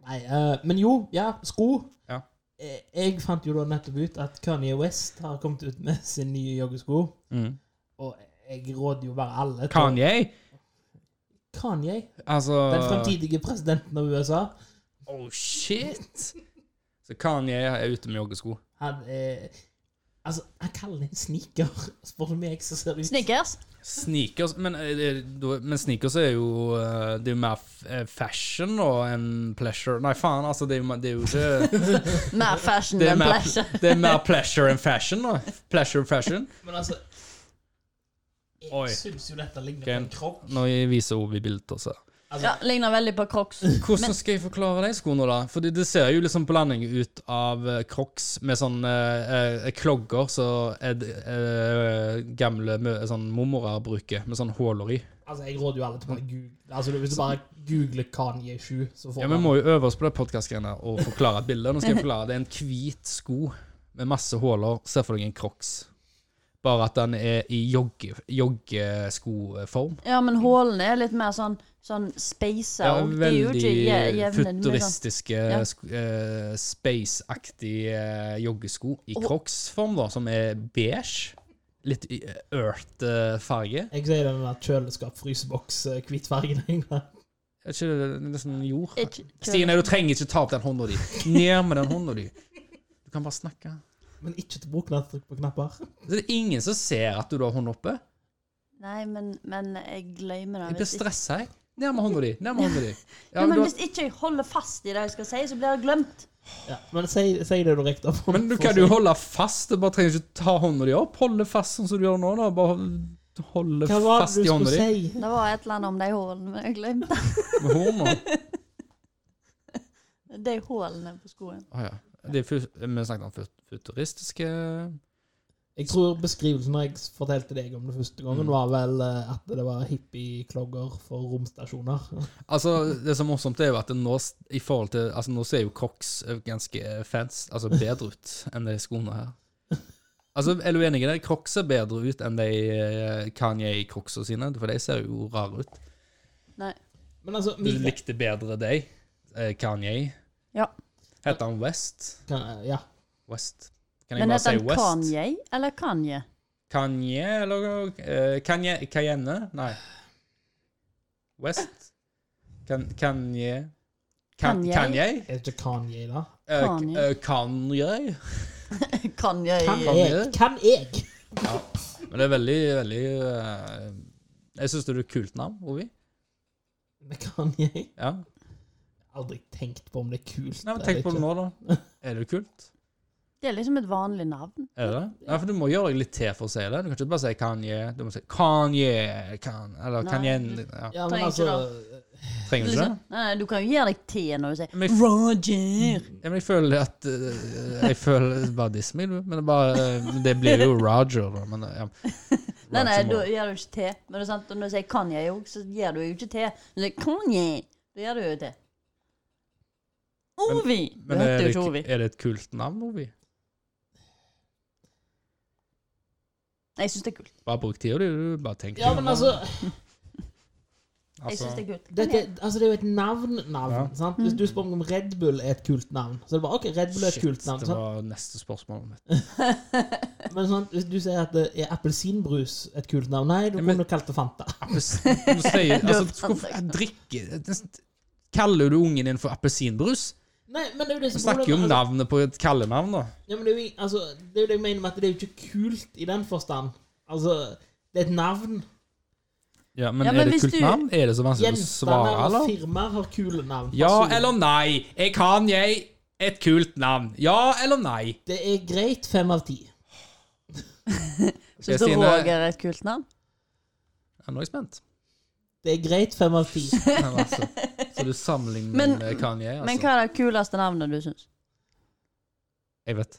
Speaker 3: Nei, eh, men jo, ja, sko.
Speaker 1: Ja.
Speaker 3: Eh, Jeg fant jo da nettopp ut at Kanye West har kommet ut med sin nye joggesko.
Speaker 1: Mm.
Speaker 3: Og jeg råder jo bare alle til
Speaker 1: Kanye?
Speaker 3: Kanye,
Speaker 1: Altså
Speaker 3: den fremtidige presidenten av USA.
Speaker 1: Oh shit! Så Kanye er ute med joggesko.
Speaker 3: Han eh, Altså, han kaller det en sneaker. Spør du meg, så ser det ut
Speaker 2: Snickers?
Speaker 1: Sneakers Men, eh, det- da- men sneakers er jo eh, Det er jo mer f- eh, fashion og enn pleasure. Nei, faen, altså. Det er jo, ma- det er jo ikke
Speaker 2: Mer fashion
Speaker 1: Det er
Speaker 2: enn
Speaker 1: mer-
Speaker 2: pleasure.
Speaker 1: Det er mer pleasure enn fashion, da. Pleasure fashion.
Speaker 3: Men altså Jeg
Speaker 1: Oi.
Speaker 3: syns jo dette ligner
Speaker 1: Ok.
Speaker 3: på en kropp.
Speaker 1: Når jeg viser Ovi bilder, så
Speaker 3: Altså,
Speaker 2: Ja, Ligner veldig på Crocs.
Speaker 1: Hvordan skal jeg forklare de skoene, da? Fordi det ser jo liksom på landing ut av eh, Crocs med sånne eh, eh, klogger som så, eh, gamle mø- sånn mormorer bruker, med sånn huller i.
Speaker 3: Altså, jeg råder jo alle til å bare google Altså, Hvis du bare googler Kanye 7, så får
Speaker 1: Ja, Vi må jo øve oss på det podkastgreiene og forklare et bilde. Nå skal jeg forklare. Det er en hvit sko med masse huller. Se for deg en crocs. Bare at den er i jogge, joggeskoform.
Speaker 2: Ja, men hålene er litt mer sånn, sånn space
Speaker 1: Ja,
Speaker 2: out. de er jo
Speaker 1: veldig
Speaker 2: ikke je- jevne. de er sånn-
Speaker 1: futuristiske,
Speaker 2: Ja.
Speaker 1: sk- eh, space-aktige eh, joggesko i
Speaker 2: Og-
Speaker 1: crocs-form, da, som er beige. Litt i- eh, earth-farge.
Speaker 3: Jeg sier den der eh, kjøleskap-fryseboks-hvittfargen en gang.
Speaker 1: Er ikke det nesten jord?
Speaker 2: Ikke-
Speaker 1: Stine, du trenger ikke ta opp den hånda di. Ned med den hånda di. Du kan bare snakke.
Speaker 3: Men ikke til boknatt, trykk på knapper.
Speaker 1: Så det er ingen som ser at du har hånda oppe.
Speaker 2: Nei, men, men jeg glemmer det.
Speaker 1: Jeg blir
Speaker 2: Hvis ikke,
Speaker 1: stressa, jeg. Ned med hånda di. Ned med hånda di. Ja,
Speaker 2: ja,
Speaker 1: men,
Speaker 2: men
Speaker 1: du,
Speaker 2: hvis ikke jeg holder fast i det jeg skal si, så blir det glemt.
Speaker 3: Ja, men si, si det du rekte opp.
Speaker 1: men du kan jo holde fast. Du bare trenger ikke ta hånda di opp. Holde fast sånn som du gjør nå. da. Bare hold- holde
Speaker 3: Hva var
Speaker 1: fast
Speaker 3: det
Speaker 1: i
Speaker 3: du
Speaker 1: hånda
Speaker 3: skulle
Speaker 1: di.
Speaker 3: si?
Speaker 2: Det var et eller annet om de hålene, men jeg glemte
Speaker 1: Med hånda.
Speaker 2: de hålene på skoen.
Speaker 1: Ah, ja. Det er fu vi snakket om fut- futuristiske
Speaker 3: Jeg tror beskrivelsen når jeg fortalte deg om det første gangen,
Speaker 1: Mm.
Speaker 3: var vel eh, at det var hippie-klogger for romstasjoner.
Speaker 1: Altså, Det som er morsomt, er jo at det nå s- i forhold til, altså nå ser jo Crocs eh, ganske fans, altså bedre ut enn de skoene her. Altså, Er du enig i det? Crocs ser bedre ut enn de eh, Kanye-crocsa sine, for de ser jo rare ut.
Speaker 2: Nei.
Speaker 3: Men altså,
Speaker 1: Du
Speaker 3: min,
Speaker 1: likte bedre de, eh, Kanye.
Speaker 2: Ja.
Speaker 1: Heter han West?
Speaker 3: kan, ja,
Speaker 1: West? Kan jeg
Speaker 2: Men
Speaker 1: bare
Speaker 2: heter
Speaker 1: si
Speaker 2: den
Speaker 1: West? Kanye,
Speaker 2: Kanye eller Kanye?
Speaker 1: eller eh, Kanye Cayenne? Nei. West? Kan, Kanye kan,
Speaker 2: Kanye?
Speaker 1: Kanye?
Speaker 3: er det ikke Kanye, da?
Speaker 1: Eh,
Speaker 2: Kanye.
Speaker 1: eh, Kanye?
Speaker 2: Kanye
Speaker 3: Kan
Speaker 1: Kanye?
Speaker 3: jeg? Kan jeg?
Speaker 1: Men det er veldig, veldig eh, Jeg syns det er et kult navn, Ovi.
Speaker 3: Men Kanye?
Speaker 1: Ja.
Speaker 3: Aldri tenkt på om det er kult.
Speaker 1: Nei, men
Speaker 3: eller
Speaker 1: tenk på
Speaker 3: ikke.
Speaker 1: det nå, da. Er det kult?
Speaker 2: Det er liksom et vanlig navn.
Speaker 1: Er det det? Nei, for du må gjøre deg litt til for å si det. Du kan ikke bare si Kanye. Du må si Kanye kan, Eller
Speaker 2: Nei.
Speaker 1: Kanye ja.
Speaker 3: Ja, men
Speaker 2: Trenger
Speaker 3: altså,
Speaker 1: Trenger du ikke det?
Speaker 2: Liksom, nei, nei, du kan jo gi deg T når du sier
Speaker 1: Men jeg,
Speaker 2: Roger.
Speaker 1: ja, men jeg føler at eh, Jeg føler bare Disney, du. Men det, er bare, eh, det blir jo Roger, da. Men, eh, ja.
Speaker 2: Nei, nei, da
Speaker 1: Roger Moore.
Speaker 2: gjør du ikke T. Men det er sant, og når du sier Kanye òg, så gjør du jo ikke T. Når du sier Kanye, da gjør du jo T. Ovi! Du
Speaker 1: men er
Speaker 2: heter jo
Speaker 1: det,
Speaker 2: ikke Ovi.
Speaker 1: er det et kult navn, Ovi?
Speaker 2: Nei, jeg syns det er kult.
Speaker 1: Bare bruk tida di, du. Bare tenk
Speaker 3: ja,
Speaker 1: på det.
Speaker 3: men altså
Speaker 2: Jeg synes det er kult.
Speaker 3: Dette, altså Det er jo et navn-navn.
Speaker 1: Ja.
Speaker 3: sant? Hvis du spør om Red Bull er et kult navn, så er det bare OK, Red Bull
Speaker 1: Altså,
Speaker 3: er et
Speaker 1: Shit,
Speaker 3: kult navn.
Speaker 1: det
Speaker 3: Sant?
Speaker 1: var neste spørsmål. mitt.
Speaker 3: Men sånn, hvis du sier at det er appelsinbrus et kult navn Nei, du
Speaker 1: Ja, men-
Speaker 3: kunne kalt det Fanta.
Speaker 1: Appelsin- du sier- altså,
Speaker 2: Du har
Speaker 1: hvorfor jeg drikker det- Kaller du ungen din for appelsinbrus?
Speaker 3: Nei, men det er jo det
Speaker 1: Vi
Speaker 3: som
Speaker 1: snakker jo om
Speaker 3: altså,
Speaker 1: navnet på et kallenavn, da.
Speaker 3: ja, men det, er jo, ing- altså, det er jo det jeg mener med at det er jo ikke kult i den forstand. Altså, det er et navn.
Speaker 1: Ja, men
Speaker 2: Ja,
Speaker 1: er
Speaker 2: men
Speaker 1: det et
Speaker 2: hvis
Speaker 1: kult
Speaker 2: du-
Speaker 1: navn? Er det så vanskelig å svare,
Speaker 3: Gjenstander og
Speaker 1: Altså, eller?
Speaker 3: firmaer har kule navn.
Speaker 1: Ja
Speaker 3: Personer.
Speaker 1: eller nei? Er Kanye et kult navn? Ja eller nei?
Speaker 3: Det er greit fem av ti.
Speaker 1: Ok,
Speaker 2: Syns du
Speaker 1: Stine-
Speaker 2: Roger er et kult navn?
Speaker 1: Ja, nå er jeg spent.
Speaker 3: Det er greit fem av ti.
Speaker 1: Men altså, så du sammenligner
Speaker 2: Men-
Speaker 1: med Kanye? Altså.
Speaker 2: Men hva er det kuleste navnet du syns?
Speaker 1: Jeg vet.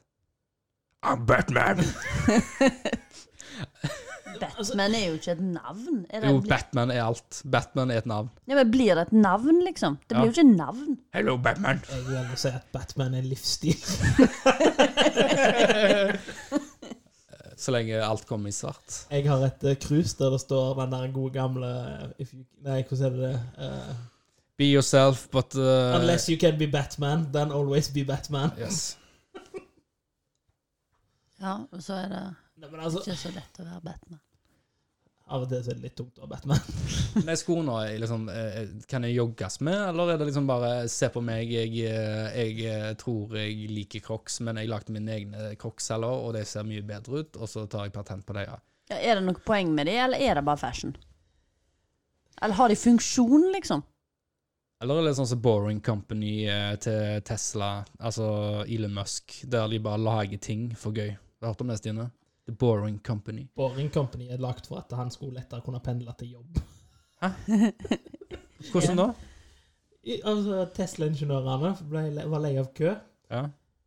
Speaker 1: I'm Batman!
Speaker 2: Batman er jo ikke et navn. Er det,
Speaker 1: Jo, Batman er alt. Batman er et navn.
Speaker 2: ja, men blir det et navn, liksom? Det blir jo ikke navn.
Speaker 1: Hello, Batman.
Speaker 3: Jeg vil gjerne si at Batman er en livsstil.
Speaker 1: Eh, Så lenge alt kommer i svart.
Speaker 3: Jeg har et eh, krus der det står den der gode gamle eh, if you, Nei, hvordan er det? Eh,
Speaker 1: Be yourself, but uh,
Speaker 3: unless you can be Batman, then always be Batman.
Speaker 1: Yes.
Speaker 2: Ja, og så er det
Speaker 3: Nei, men altså,
Speaker 2: ikke så lett å være Batman.
Speaker 3: Av og til så er det litt tungt å være Batman.
Speaker 1: De skoene er liksom, eh, kan jeg jogges med, eller er det liksom bare se på meg, jeg, eh, jeg eh, tror jeg liker crocs, men jeg lagde mine egne crocs heller, og de ser mye bedre ut, og så tar jeg patent på det, ja.
Speaker 2: Ja, er det noe poeng med det, eller er det bare fashion? Eller har de funksjon, liksom?
Speaker 1: Eller er det sånn som Boring Company eh, til Tesla, altså Elon Musk, der de bare lager ting for gøy. Har du hørt om det, Stine? The Boring Company.
Speaker 3: Boring Company er lagt for at han skulle lettere kunne pendle til jobb.
Speaker 1: Hvordan da?
Speaker 3: I- Altså, Tesla-ingeniørene ble- var lei av kø,
Speaker 1: Ja.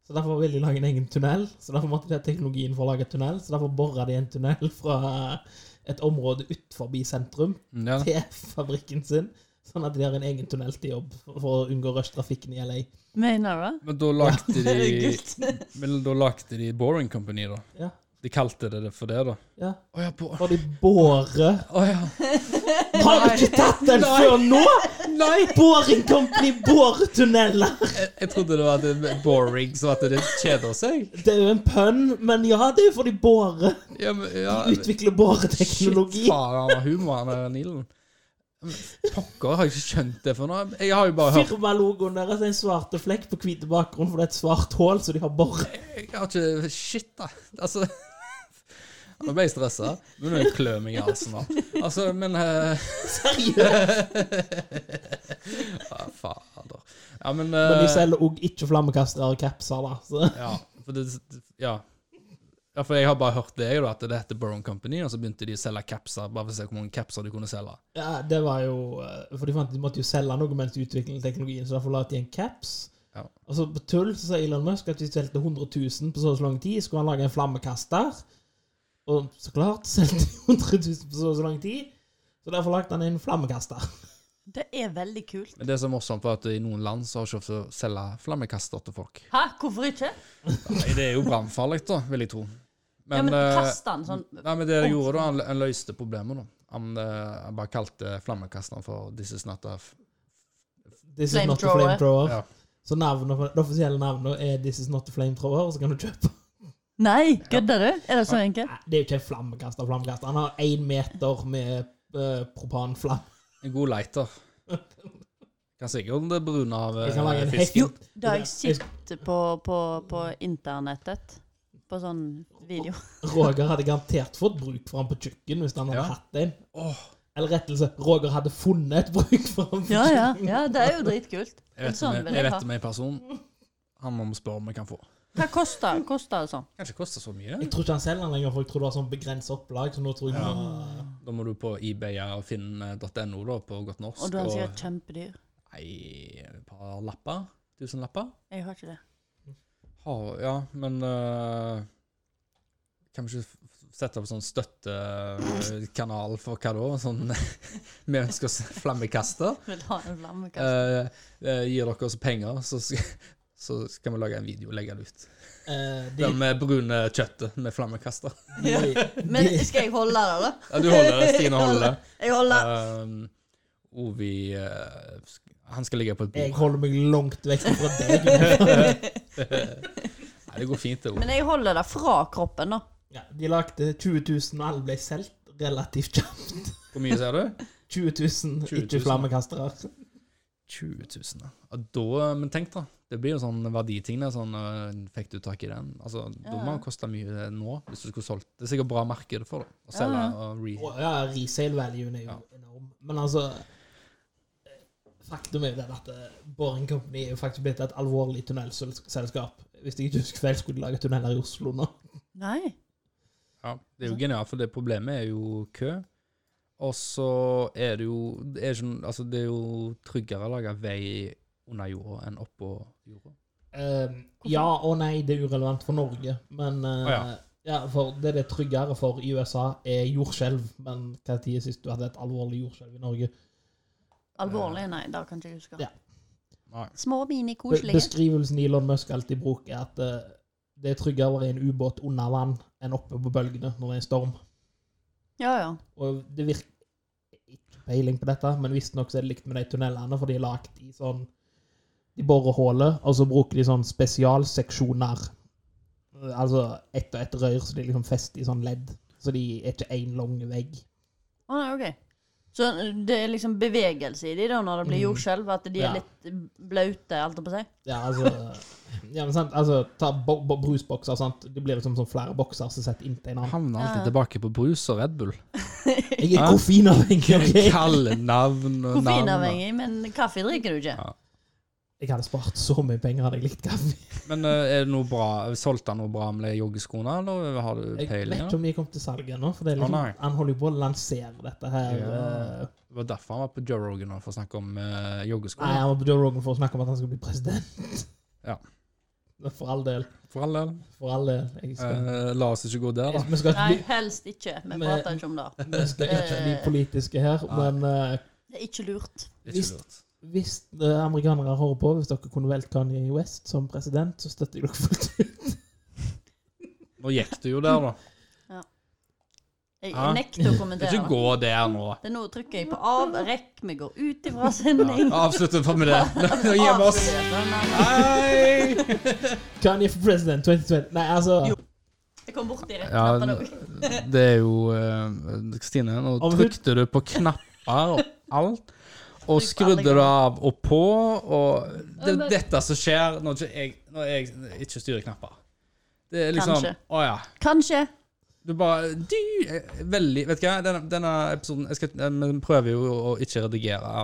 Speaker 3: så derfor ville de lage en egen tunnel. Så derfor måtte de ha teknologien for å lage tunnel, så derfor bora de en tunnel fra, et område utenfor sentrum
Speaker 1: Ja.
Speaker 3: til fabrikken sin, sånn at de har en egen tunnel til jobb for å unngå rushtrafikken i LA.
Speaker 2: Mener du?
Speaker 1: Men da lagde
Speaker 2: det?
Speaker 1: de
Speaker 2: Gutt.
Speaker 1: Men da lagde de Boring Company, da.
Speaker 3: Ja,
Speaker 1: De kalte det det for det, da.
Speaker 3: ja.
Speaker 1: Å ja, bo
Speaker 3: Og de bårer
Speaker 1: Å ja.
Speaker 3: Har du ikke tatt den før nå?!
Speaker 1: Nei!
Speaker 3: Boring Company båretunneler!
Speaker 1: Jeg, jeg trodde det var det boring, så at det kjeder seg.
Speaker 3: Det er jo en pønn, men ja, det er jo for de bårer.
Speaker 1: Ja, men, ja.
Speaker 3: Utvikler båreteknologi.
Speaker 1: Shit, faen, han har humor, han der Nilen. Men Pokker, har jeg ikke skjønt det for noe? Jeg har jo bare hørt
Speaker 3: Firmalogoen deres er en svarte flekk på hvite bakgrunn, for det er et svart hull, så de har boret.
Speaker 1: Jeg har ikke Shit, da. Altså Nå ble jeg stressa. Nå må jeg klø meg i halsen. nå. Altså, men eh,
Speaker 3: Seriøst!
Speaker 1: Ja, fader. Ja, men
Speaker 3: Men de
Speaker 1: eh,
Speaker 3: selger òg ikke flammekastere og capser, da. Så.
Speaker 1: Ja, for det, ja. ja, for jeg har bare hørt det, jo, da, at det heter Boron Company, og så begynte de å selge capser, bare for å se hvor mange capser de kunne selge.
Speaker 3: Ja, det var jo eh, For de fant de måtte jo selge noe mens de utviklet teknologien, så derfor la de en caps.
Speaker 1: Ja.
Speaker 3: Og så på tull så sa Elon Musk at hvis de solgte 100 000 på så og så lang tid, skulle han lage en flammekaster. Og så klart solgte de 100 000 på så og så lang tid, så derfor lagde han en flammekaster.
Speaker 2: Det er veldig kult.
Speaker 1: Men det som er morsomt, var at i noen land så har ikke ofte å selge flammekaster til folk.
Speaker 2: Hæ, hvorfor ikke?
Speaker 1: Nei, det er jo brannfarlig, da, vil jeg tro.
Speaker 2: ja, men
Speaker 1: eh,
Speaker 2: kast den sånn.
Speaker 1: Nei, men det de gjorde, da, han, han løste problemet, da. Han, eh, han bare kalte flammekasteren for This is not a f
Speaker 3: This is not a
Speaker 2: Flamethrower.
Speaker 3: flamethrower.
Speaker 1: Ja.
Speaker 3: Så navnet, på- det offisielle navnet er This is not a flamethrower, og så kan du kjøpe.
Speaker 2: Nei, kødder du? Er det så enkelt?
Speaker 3: Nei, Det er jo ikke en flammekaster. flammekaster. Han har én meter med eh, propanflamme.
Speaker 1: En god lighter. Kan sikkert det brune av
Speaker 3: Jeg kan
Speaker 1: eh,
Speaker 3: lage en
Speaker 1: fisk.
Speaker 3: hekk-
Speaker 2: Jo, det har jeg
Speaker 3: Jeg-
Speaker 2: sett på, på, på internettet. På sånn video.
Speaker 3: Roger hadde garantert fått bruk for han på kjøkken hvis han hadde
Speaker 1: Ja.
Speaker 3: hatt en.
Speaker 1: Åh,
Speaker 3: Eller rettelse, Roger hadde funnet et bruk for han på
Speaker 2: Ja, ja.
Speaker 3: kjøkken.
Speaker 2: ja det er jo dritkult.
Speaker 1: jeg
Speaker 2: Men
Speaker 1: vet om
Speaker 2: sånn
Speaker 1: jeg-
Speaker 2: vil
Speaker 1: jeg
Speaker 2: jeg
Speaker 1: vet
Speaker 2: ha.
Speaker 1: om en person. Han må vi spørre om vi kan få.
Speaker 2: Hva koster, koster det sånn?
Speaker 1: Kanskje koster så mye.
Speaker 3: Jeg tror ikke han selger den lenger, for jeg tror det var sånn begrenset opplag. Så nå tror jeg
Speaker 1: Ja.
Speaker 3: han-
Speaker 1: Da må du på eBay og finn.no da, på godt norsk.
Speaker 2: Og du er sikkert kjempedyr.
Speaker 1: Nei, et par lapper. Tusenlapper.
Speaker 2: Jeg har ikke det.
Speaker 1: Ha, ja, men eh, Kan vi ikke f- f- sette opp sånn støttekanal for hva da? Sånn Vi ønsker oss flammekaster.
Speaker 2: Vil ha en flammekaster.
Speaker 1: Eh, eh, gir dere oss penger, så, sk- så skal vi lage en video og legge den ut.
Speaker 3: eh, de,
Speaker 1: Den med brune kjøttet med flammekaster.
Speaker 2: Ja.
Speaker 3: de,
Speaker 2: Men skal jeg holde Eh, det, da?
Speaker 1: Ja, du holder det. Stine holder det.
Speaker 2: Jeg holder.
Speaker 1: Um, Ovi eh, sk- Han skal ligge på et bord.
Speaker 3: Jeg holder meg langt vekk fra deg.
Speaker 1: Nei, det går fint, det òg.
Speaker 2: Men jeg holder det fra kroppen, da.
Speaker 3: Ja, de lagde 20 000, og alle ble solgt relativt kjapt.
Speaker 1: Hvor mye sier du?
Speaker 3: 20 000,
Speaker 1: 20 000.
Speaker 3: ikke flammekastere.
Speaker 1: 20 000. ja. Ja, da, men tenk, da. Det blir jo sånn verditing. da, Sånn, øh, fikk du tak i den? Altså, Da må
Speaker 2: Ja.
Speaker 1: den koste mye eh, nå. hvis du skulle solgt. Det er sikkert bra marked for det. Å selge
Speaker 2: Ja, ja.
Speaker 1: og re...
Speaker 3: Og ja, resale-valuen er jo
Speaker 1: Ja.
Speaker 3: enorm. Men altså eh, Faktum er jo det at eh, Boring Company er jo faktisk blitt et alvorlig tunnelselskap. Hvis jeg ikke husker feil, skulle de lage tunneler i Oslo nå.
Speaker 2: Nei.
Speaker 1: Ja, det er jo genialt, for det problemet er jo kø. Og så er det jo det er, ikke, noe- altså, det er jo tryggere å lage vei under jorda enn oppå jorda.
Speaker 3: Eh, ja og nei, det er urelevant for Norge, men eh,
Speaker 1: Å, ja.
Speaker 3: ja, for det det er tryggere for i USA, er jordskjelv. Men hva tid er sist du hadde et alvorlig jordskjelv i Norge?
Speaker 2: Alvorlig? Nei, det kan ikke jeg huske.
Speaker 3: Ja.
Speaker 1: Nei.
Speaker 2: Små, mini,
Speaker 3: Be
Speaker 2: koselige.
Speaker 3: beskrivelsen Elon Musk alltid bruker, er at eh, det er tryggere å være i en ubåt under vann enn oppe på bølgene når det er en storm.
Speaker 2: Ja, ja.
Speaker 3: Og det virker ikke peiling på dette, men visstnok så er det likt med de tunnelene, for de er lagt i sånn De borer hullet, og så bruker de sånn spesialseksjoner. Altså ett og ett rør, så de liksom fester i sånn ledd. Så de er ikke én lang vegg.
Speaker 2: Å nei, ok. Så det er liksom bevegelse i de da, når det blir
Speaker 3: Mm.
Speaker 2: jordskjelv? At de
Speaker 3: Ja.
Speaker 2: er litt eh, blaute, alt på å si?
Speaker 3: Ja, altså Ja, men sant, altså Ta bo bo brusbokser, sant. Det blir liksom sånn flere bokser som setter inntil
Speaker 1: Jeg
Speaker 3: hverandre.
Speaker 1: havner
Speaker 2: Ja.
Speaker 1: alltid tilbake på brus og Red Bull.
Speaker 3: Jeg
Speaker 1: Ja.
Speaker 3: er koffeinavhengig, OK?
Speaker 1: Kalle navn og navn.
Speaker 2: Koffeinavhengig, men kaffe drikker du ikke?
Speaker 1: Ja.
Speaker 3: Jeg hadde spart så mye penger hadde jeg likt kaffe.
Speaker 1: Men eh, er det noe bra, solgte han noe bra med de joggeskoene, eller har du
Speaker 3: Jeg vet
Speaker 1: peiling?
Speaker 3: ikke
Speaker 1: da?
Speaker 3: om de kom til salg ennå, for det er
Speaker 1: Å,
Speaker 3: liksom,
Speaker 1: nei.
Speaker 3: han holder jo på å lansere dette her.
Speaker 1: Ja.
Speaker 3: eh,
Speaker 1: Det var derfor han var på Joe Rogan nå, for å snakke om eh,
Speaker 3: Nei,
Speaker 1: joggeskoene.
Speaker 3: han var på Joe Rogan for å snakke om at han skulle bli president.
Speaker 1: Ja.
Speaker 3: For all del.
Speaker 1: For all del.
Speaker 3: For all del. Jeg skal,
Speaker 1: Eh, la oss ikke gå der, da.
Speaker 3: vi skal ikke
Speaker 2: Nei,
Speaker 3: bli,
Speaker 2: helst ikke. Vi
Speaker 3: Men-
Speaker 2: prater ikke om det. Eh,
Speaker 3: vi skal ikke bli politiske her,
Speaker 1: Nei.
Speaker 3: men eh,
Speaker 2: Det er ikke lurt.
Speaker 1: Det er ikke lurt.
Speaker 3: hvis eh, amerikanere hører på, hvis dere kunne valgt Kanye West som president, så støtter jeg dere fullt ut.
Speaker 1: Nå gikk du jo der, da.
Speaker 2: Jeg,
Speaker 1: Ja.
Speaker 2: jeg nekter å kommentere
Speaker 1: Ikke
Speaker 2: det.
Speaker 1: gå der nå.
Speaker 2: Det er nå trykker jeg på av, rekk, vi går ut ifra sending.
Speaker 1: Avslutt med det. Nå gir vi oss. Hei!
Speaker 3: Kanye for president 2020. Nei, altså
Speaker 2: Jeg kom borti rett
Speaker 1: Ja,
Speaker 2: knappen òg.
Speaker 1: det er jo eh, Stine, nå
Speaker 3: Om hun-
Speaker 1: trykte du på knapper og alt. Og skrudde det av og på, og det er dette som skjer når ikke jeg, når jeg ikke styrer knapper. Det er liksom
Speaker 2: Kanskje.
Speaker 1: Å ja.
Speaker 2: Kanskje.
Speaker 1: Du bare du, eh, Veldig Vet du hva, denne, denne episoden jeg skal, eh, Vi prøver jo å ikke redigere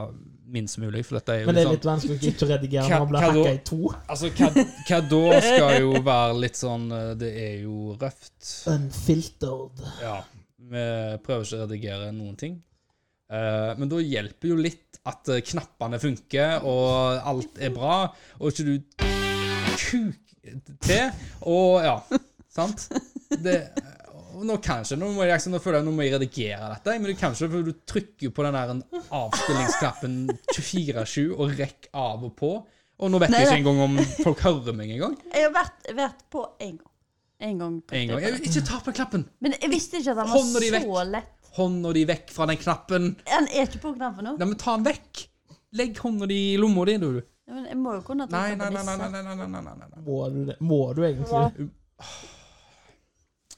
Speaker 1: minst mulig, for dette er jo
Speaker 3: Men det
Speaker 1: litt
Speaker 3: er
Speaker 1: sånn
Speaker 3: litt vanskelig å ikke redigere
Speaker 1: Hva-
Speaker 3: når man blir
Speaker 1: hva da?
Speaker 3: hakka i to.
Speaker 1: Altså, hva, hva da skal jo være litt sånn eh, Det er jo røft.
Speaker 3: Unfiltered.
Speaker 1: Ja. Vi prøver ikke å redigere noen ting. Eh, men da hjelper jo litt at eh, knappene funker, og alt er bra, og ikke du kuk til. Og ja, sant? Det, og nå kan ikke, nå, må jeg, liksom- nå føler jeg nå må jeg redigere dette, men du kan ikke, for du trykker på den der avstillingsknappen 24-7 og rekk av og på. Og nå vet
Speaker 2: Nei,
Speaker 1: jeg
Speaker 2: nei.
Speaker 1: ikke engang om folk hører meg engang.
Speaker 2: Jeg har vært, vært på én gang. En gang.
Speaker 1: En gang. Jeg, ikke ta på knappen!
Speaker 2: Men jeg visste ikke at han
Speaker 1: Hånda di
Speaker 2: var
Speaker 1: vekk.
Speaker 2: så lett.
Speaker 1: Hånda di vekk fra den knappen.
Speaker 2: Han er ikke på knappen nå.
Speaker 1: Nei, men ta den vekk! Legg hånda di i lomma di, du.
Speaker 2: Ja, Men jeg må jo kunne
Speaker 1: Nei,
Speaker 2: trykke
Speaker 1: nei,
Speaker 2: på
Speaker 1: nei, nei,
Speaker 2: disse.
Speaker 1: nei, nei, nei, nei, nei, nei.
Speaker 3: Må du, det? Må du egentlig det?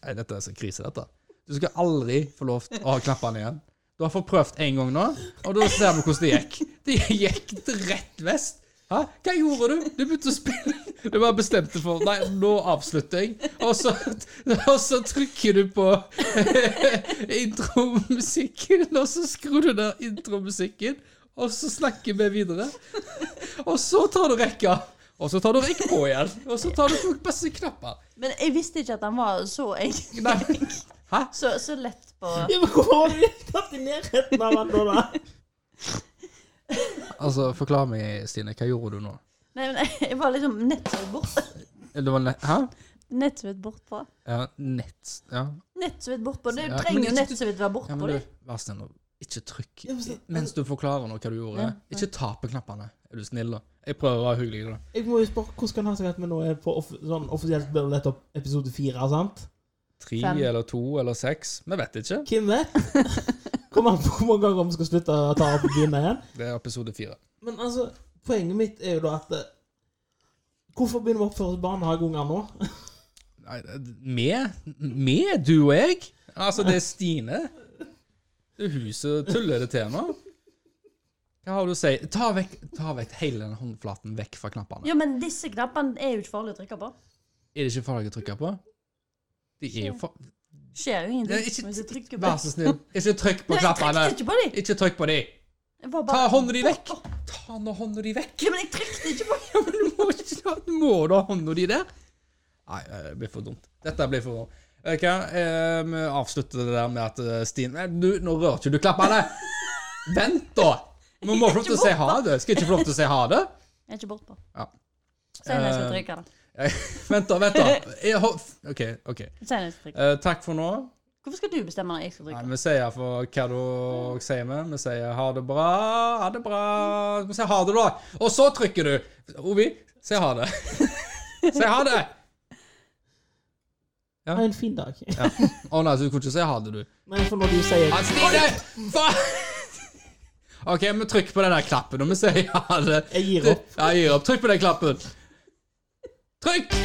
Speaker 1: Nei, Dette er så krise, dette. Du skal aldri få lov til å ha knappene igjen. Du har fått prøvd én gang nå, og da ser vi hvordan det gikk. Det gikk til rett vest. Hæ? Hva gjorde du? Du begynte å spille. Du bare bestemte for Nei, nå avslutter jeg. Og så, og så trykker du på intromusikken, og så skrur du ned intromusikken, og så snakker vi videre. Og så tar du rekka. Og så tar du rekk på igjen. Og så tar du på masse knapper.
Speaker 2: Men jeg visste ikke at han var så, en-
Speaker 1: Nei. Hæ?
Speaker 2: så, så lett på
Speaker 3: Ja, men Hvorfor har du ikke tatt i nærheten av han nå, da?
Speaker 1: Altså, forklar meg, Stine. Hva gjorde du nå?
Speaker 2: Nei, men jeg var liksom nett så vidt bort.
Speaker 1: Det var nett... Hæ?
Speaker 2: Nett så vidt bortpå.
Speaker 1: Ja, nett... Ja.
Speaker 2: Nett så vidt bortpå. Du
Speaker 1: Ja, men
Speaker 2: trenger
Speaker 1: jeg
Speaker 2: jo nett
Speaker 1: synes-
Speaker 2: så vidt være
Speaker 1: ja
Speaker 2: bortpå.
Speaker 1: men
Speaker 2: Ja,
Speaker 1: du, vær snill nå. Ikke trykk
Speaker 3: Ja, men så-
Speaker 1: Mens du forklarer nå hva du gjorde. Ikke ta på knappene. Er du snill, da? Jeg prøver å være hyggelig. da.
Speaker 3: Jeg må jo spørre hvordan kan han seg at vi nå er på off sånn offisielt blir det nettopp episode fire, sant?
Speaker 1: Tre
Speaker 2: Fem.
Speaker 1: eller to eller seks? Vi vet ikke.
Speaker 3: Hvem vet? Kommer an på hvor mange ganger vi skal slutte å ta opp og begynne igjen.
Speaker 1: Det er episode fire.
Speaker 3: Men altså, poenget mitt er jo da at eh, Hvorfor begynner vi å oppføre barnehageunger nå?
Speaker 1: Nei, vi? Vi, du og jeg? Altså, det er Stine. Det er hun som tuller det til nå. Hva har du å si? Ta vekk, ta vekk hele den håndflaten vekk fra knappene.
Speaker 2: ja, men disse knappene er jo ikke farlige å trykke på.
Speaker 1: Er det ikke farlig å trykke på? De er jo for...
Speaker 2: Skjer jo
Speaker 1: Det er
Speaker 2: ingenting. hvis jeg
Speaker 1: Ikke,
Speaker 2: trykker på
Speaker 1: vær så snill, ikke trykk på
Speaker 2: Nei, jeg
Speaker 1: knappene!
Speaker 2: trykte ikke på dem!
Speaker 1: Ikke trykk på de!
Speaker 2: Jeg var
Speaker 1: Ta
Speaker 2: bare-
Speaker 1: hånda di vekk! Ta nå hånda di vekk!
Speaker 2: Ja, men jeg trykte ikke på
Speaker 1: Ja, men du må ikke ta Må du ha hånda di der? Nei, eh, det blir for dumt. Dette blir for dumt. Ok, eh, vi avslutter det der med at eh, Stine Nei, du, Nå rører ikke du klappene! Vent, da! Vi må få lov til å si ha det. Skal jeg ikke få lov til å si ha det?
Speaker 2: Jeg er ikke bortpå.
Speaker 1: Ja.
Speaker 2: Si når jeg skal
Speaker 1: Eh,
Speaker 2: trykke, da.
Speaker 1: Vent, da. vent da. Jeg ho- OK. ok.
Speaker 2: Si når jeg skal trykke.
Speaker 1: Eh, takk for nå.
Speaker 2: Hvorfor skal du bestemme når jeg skal
Speaker 1: Nei,
Speaker 2: trykke?
Speaker 1: vi sier for hva da sier vi. Vi sier ha det bra, ha det bra. Vi sier ha det, da. Og så trykker du. Ovi, si ha det. Si ha det. Ja.
Speaker 3: Ha en fin dag.
Speaker 1: Ja. Å nei, så du kunne ikke si ha det, du.
Speaker 3: Men for når du sier
Speaker 1: Ja, Stine! Faen! OK, vi trykker på den der klappen, og vi sier ha det.
Speaker 3: Jeg gir opp.
Speaker 1: Ja, jeg gir opp. Trykk på den klappen. Trykk!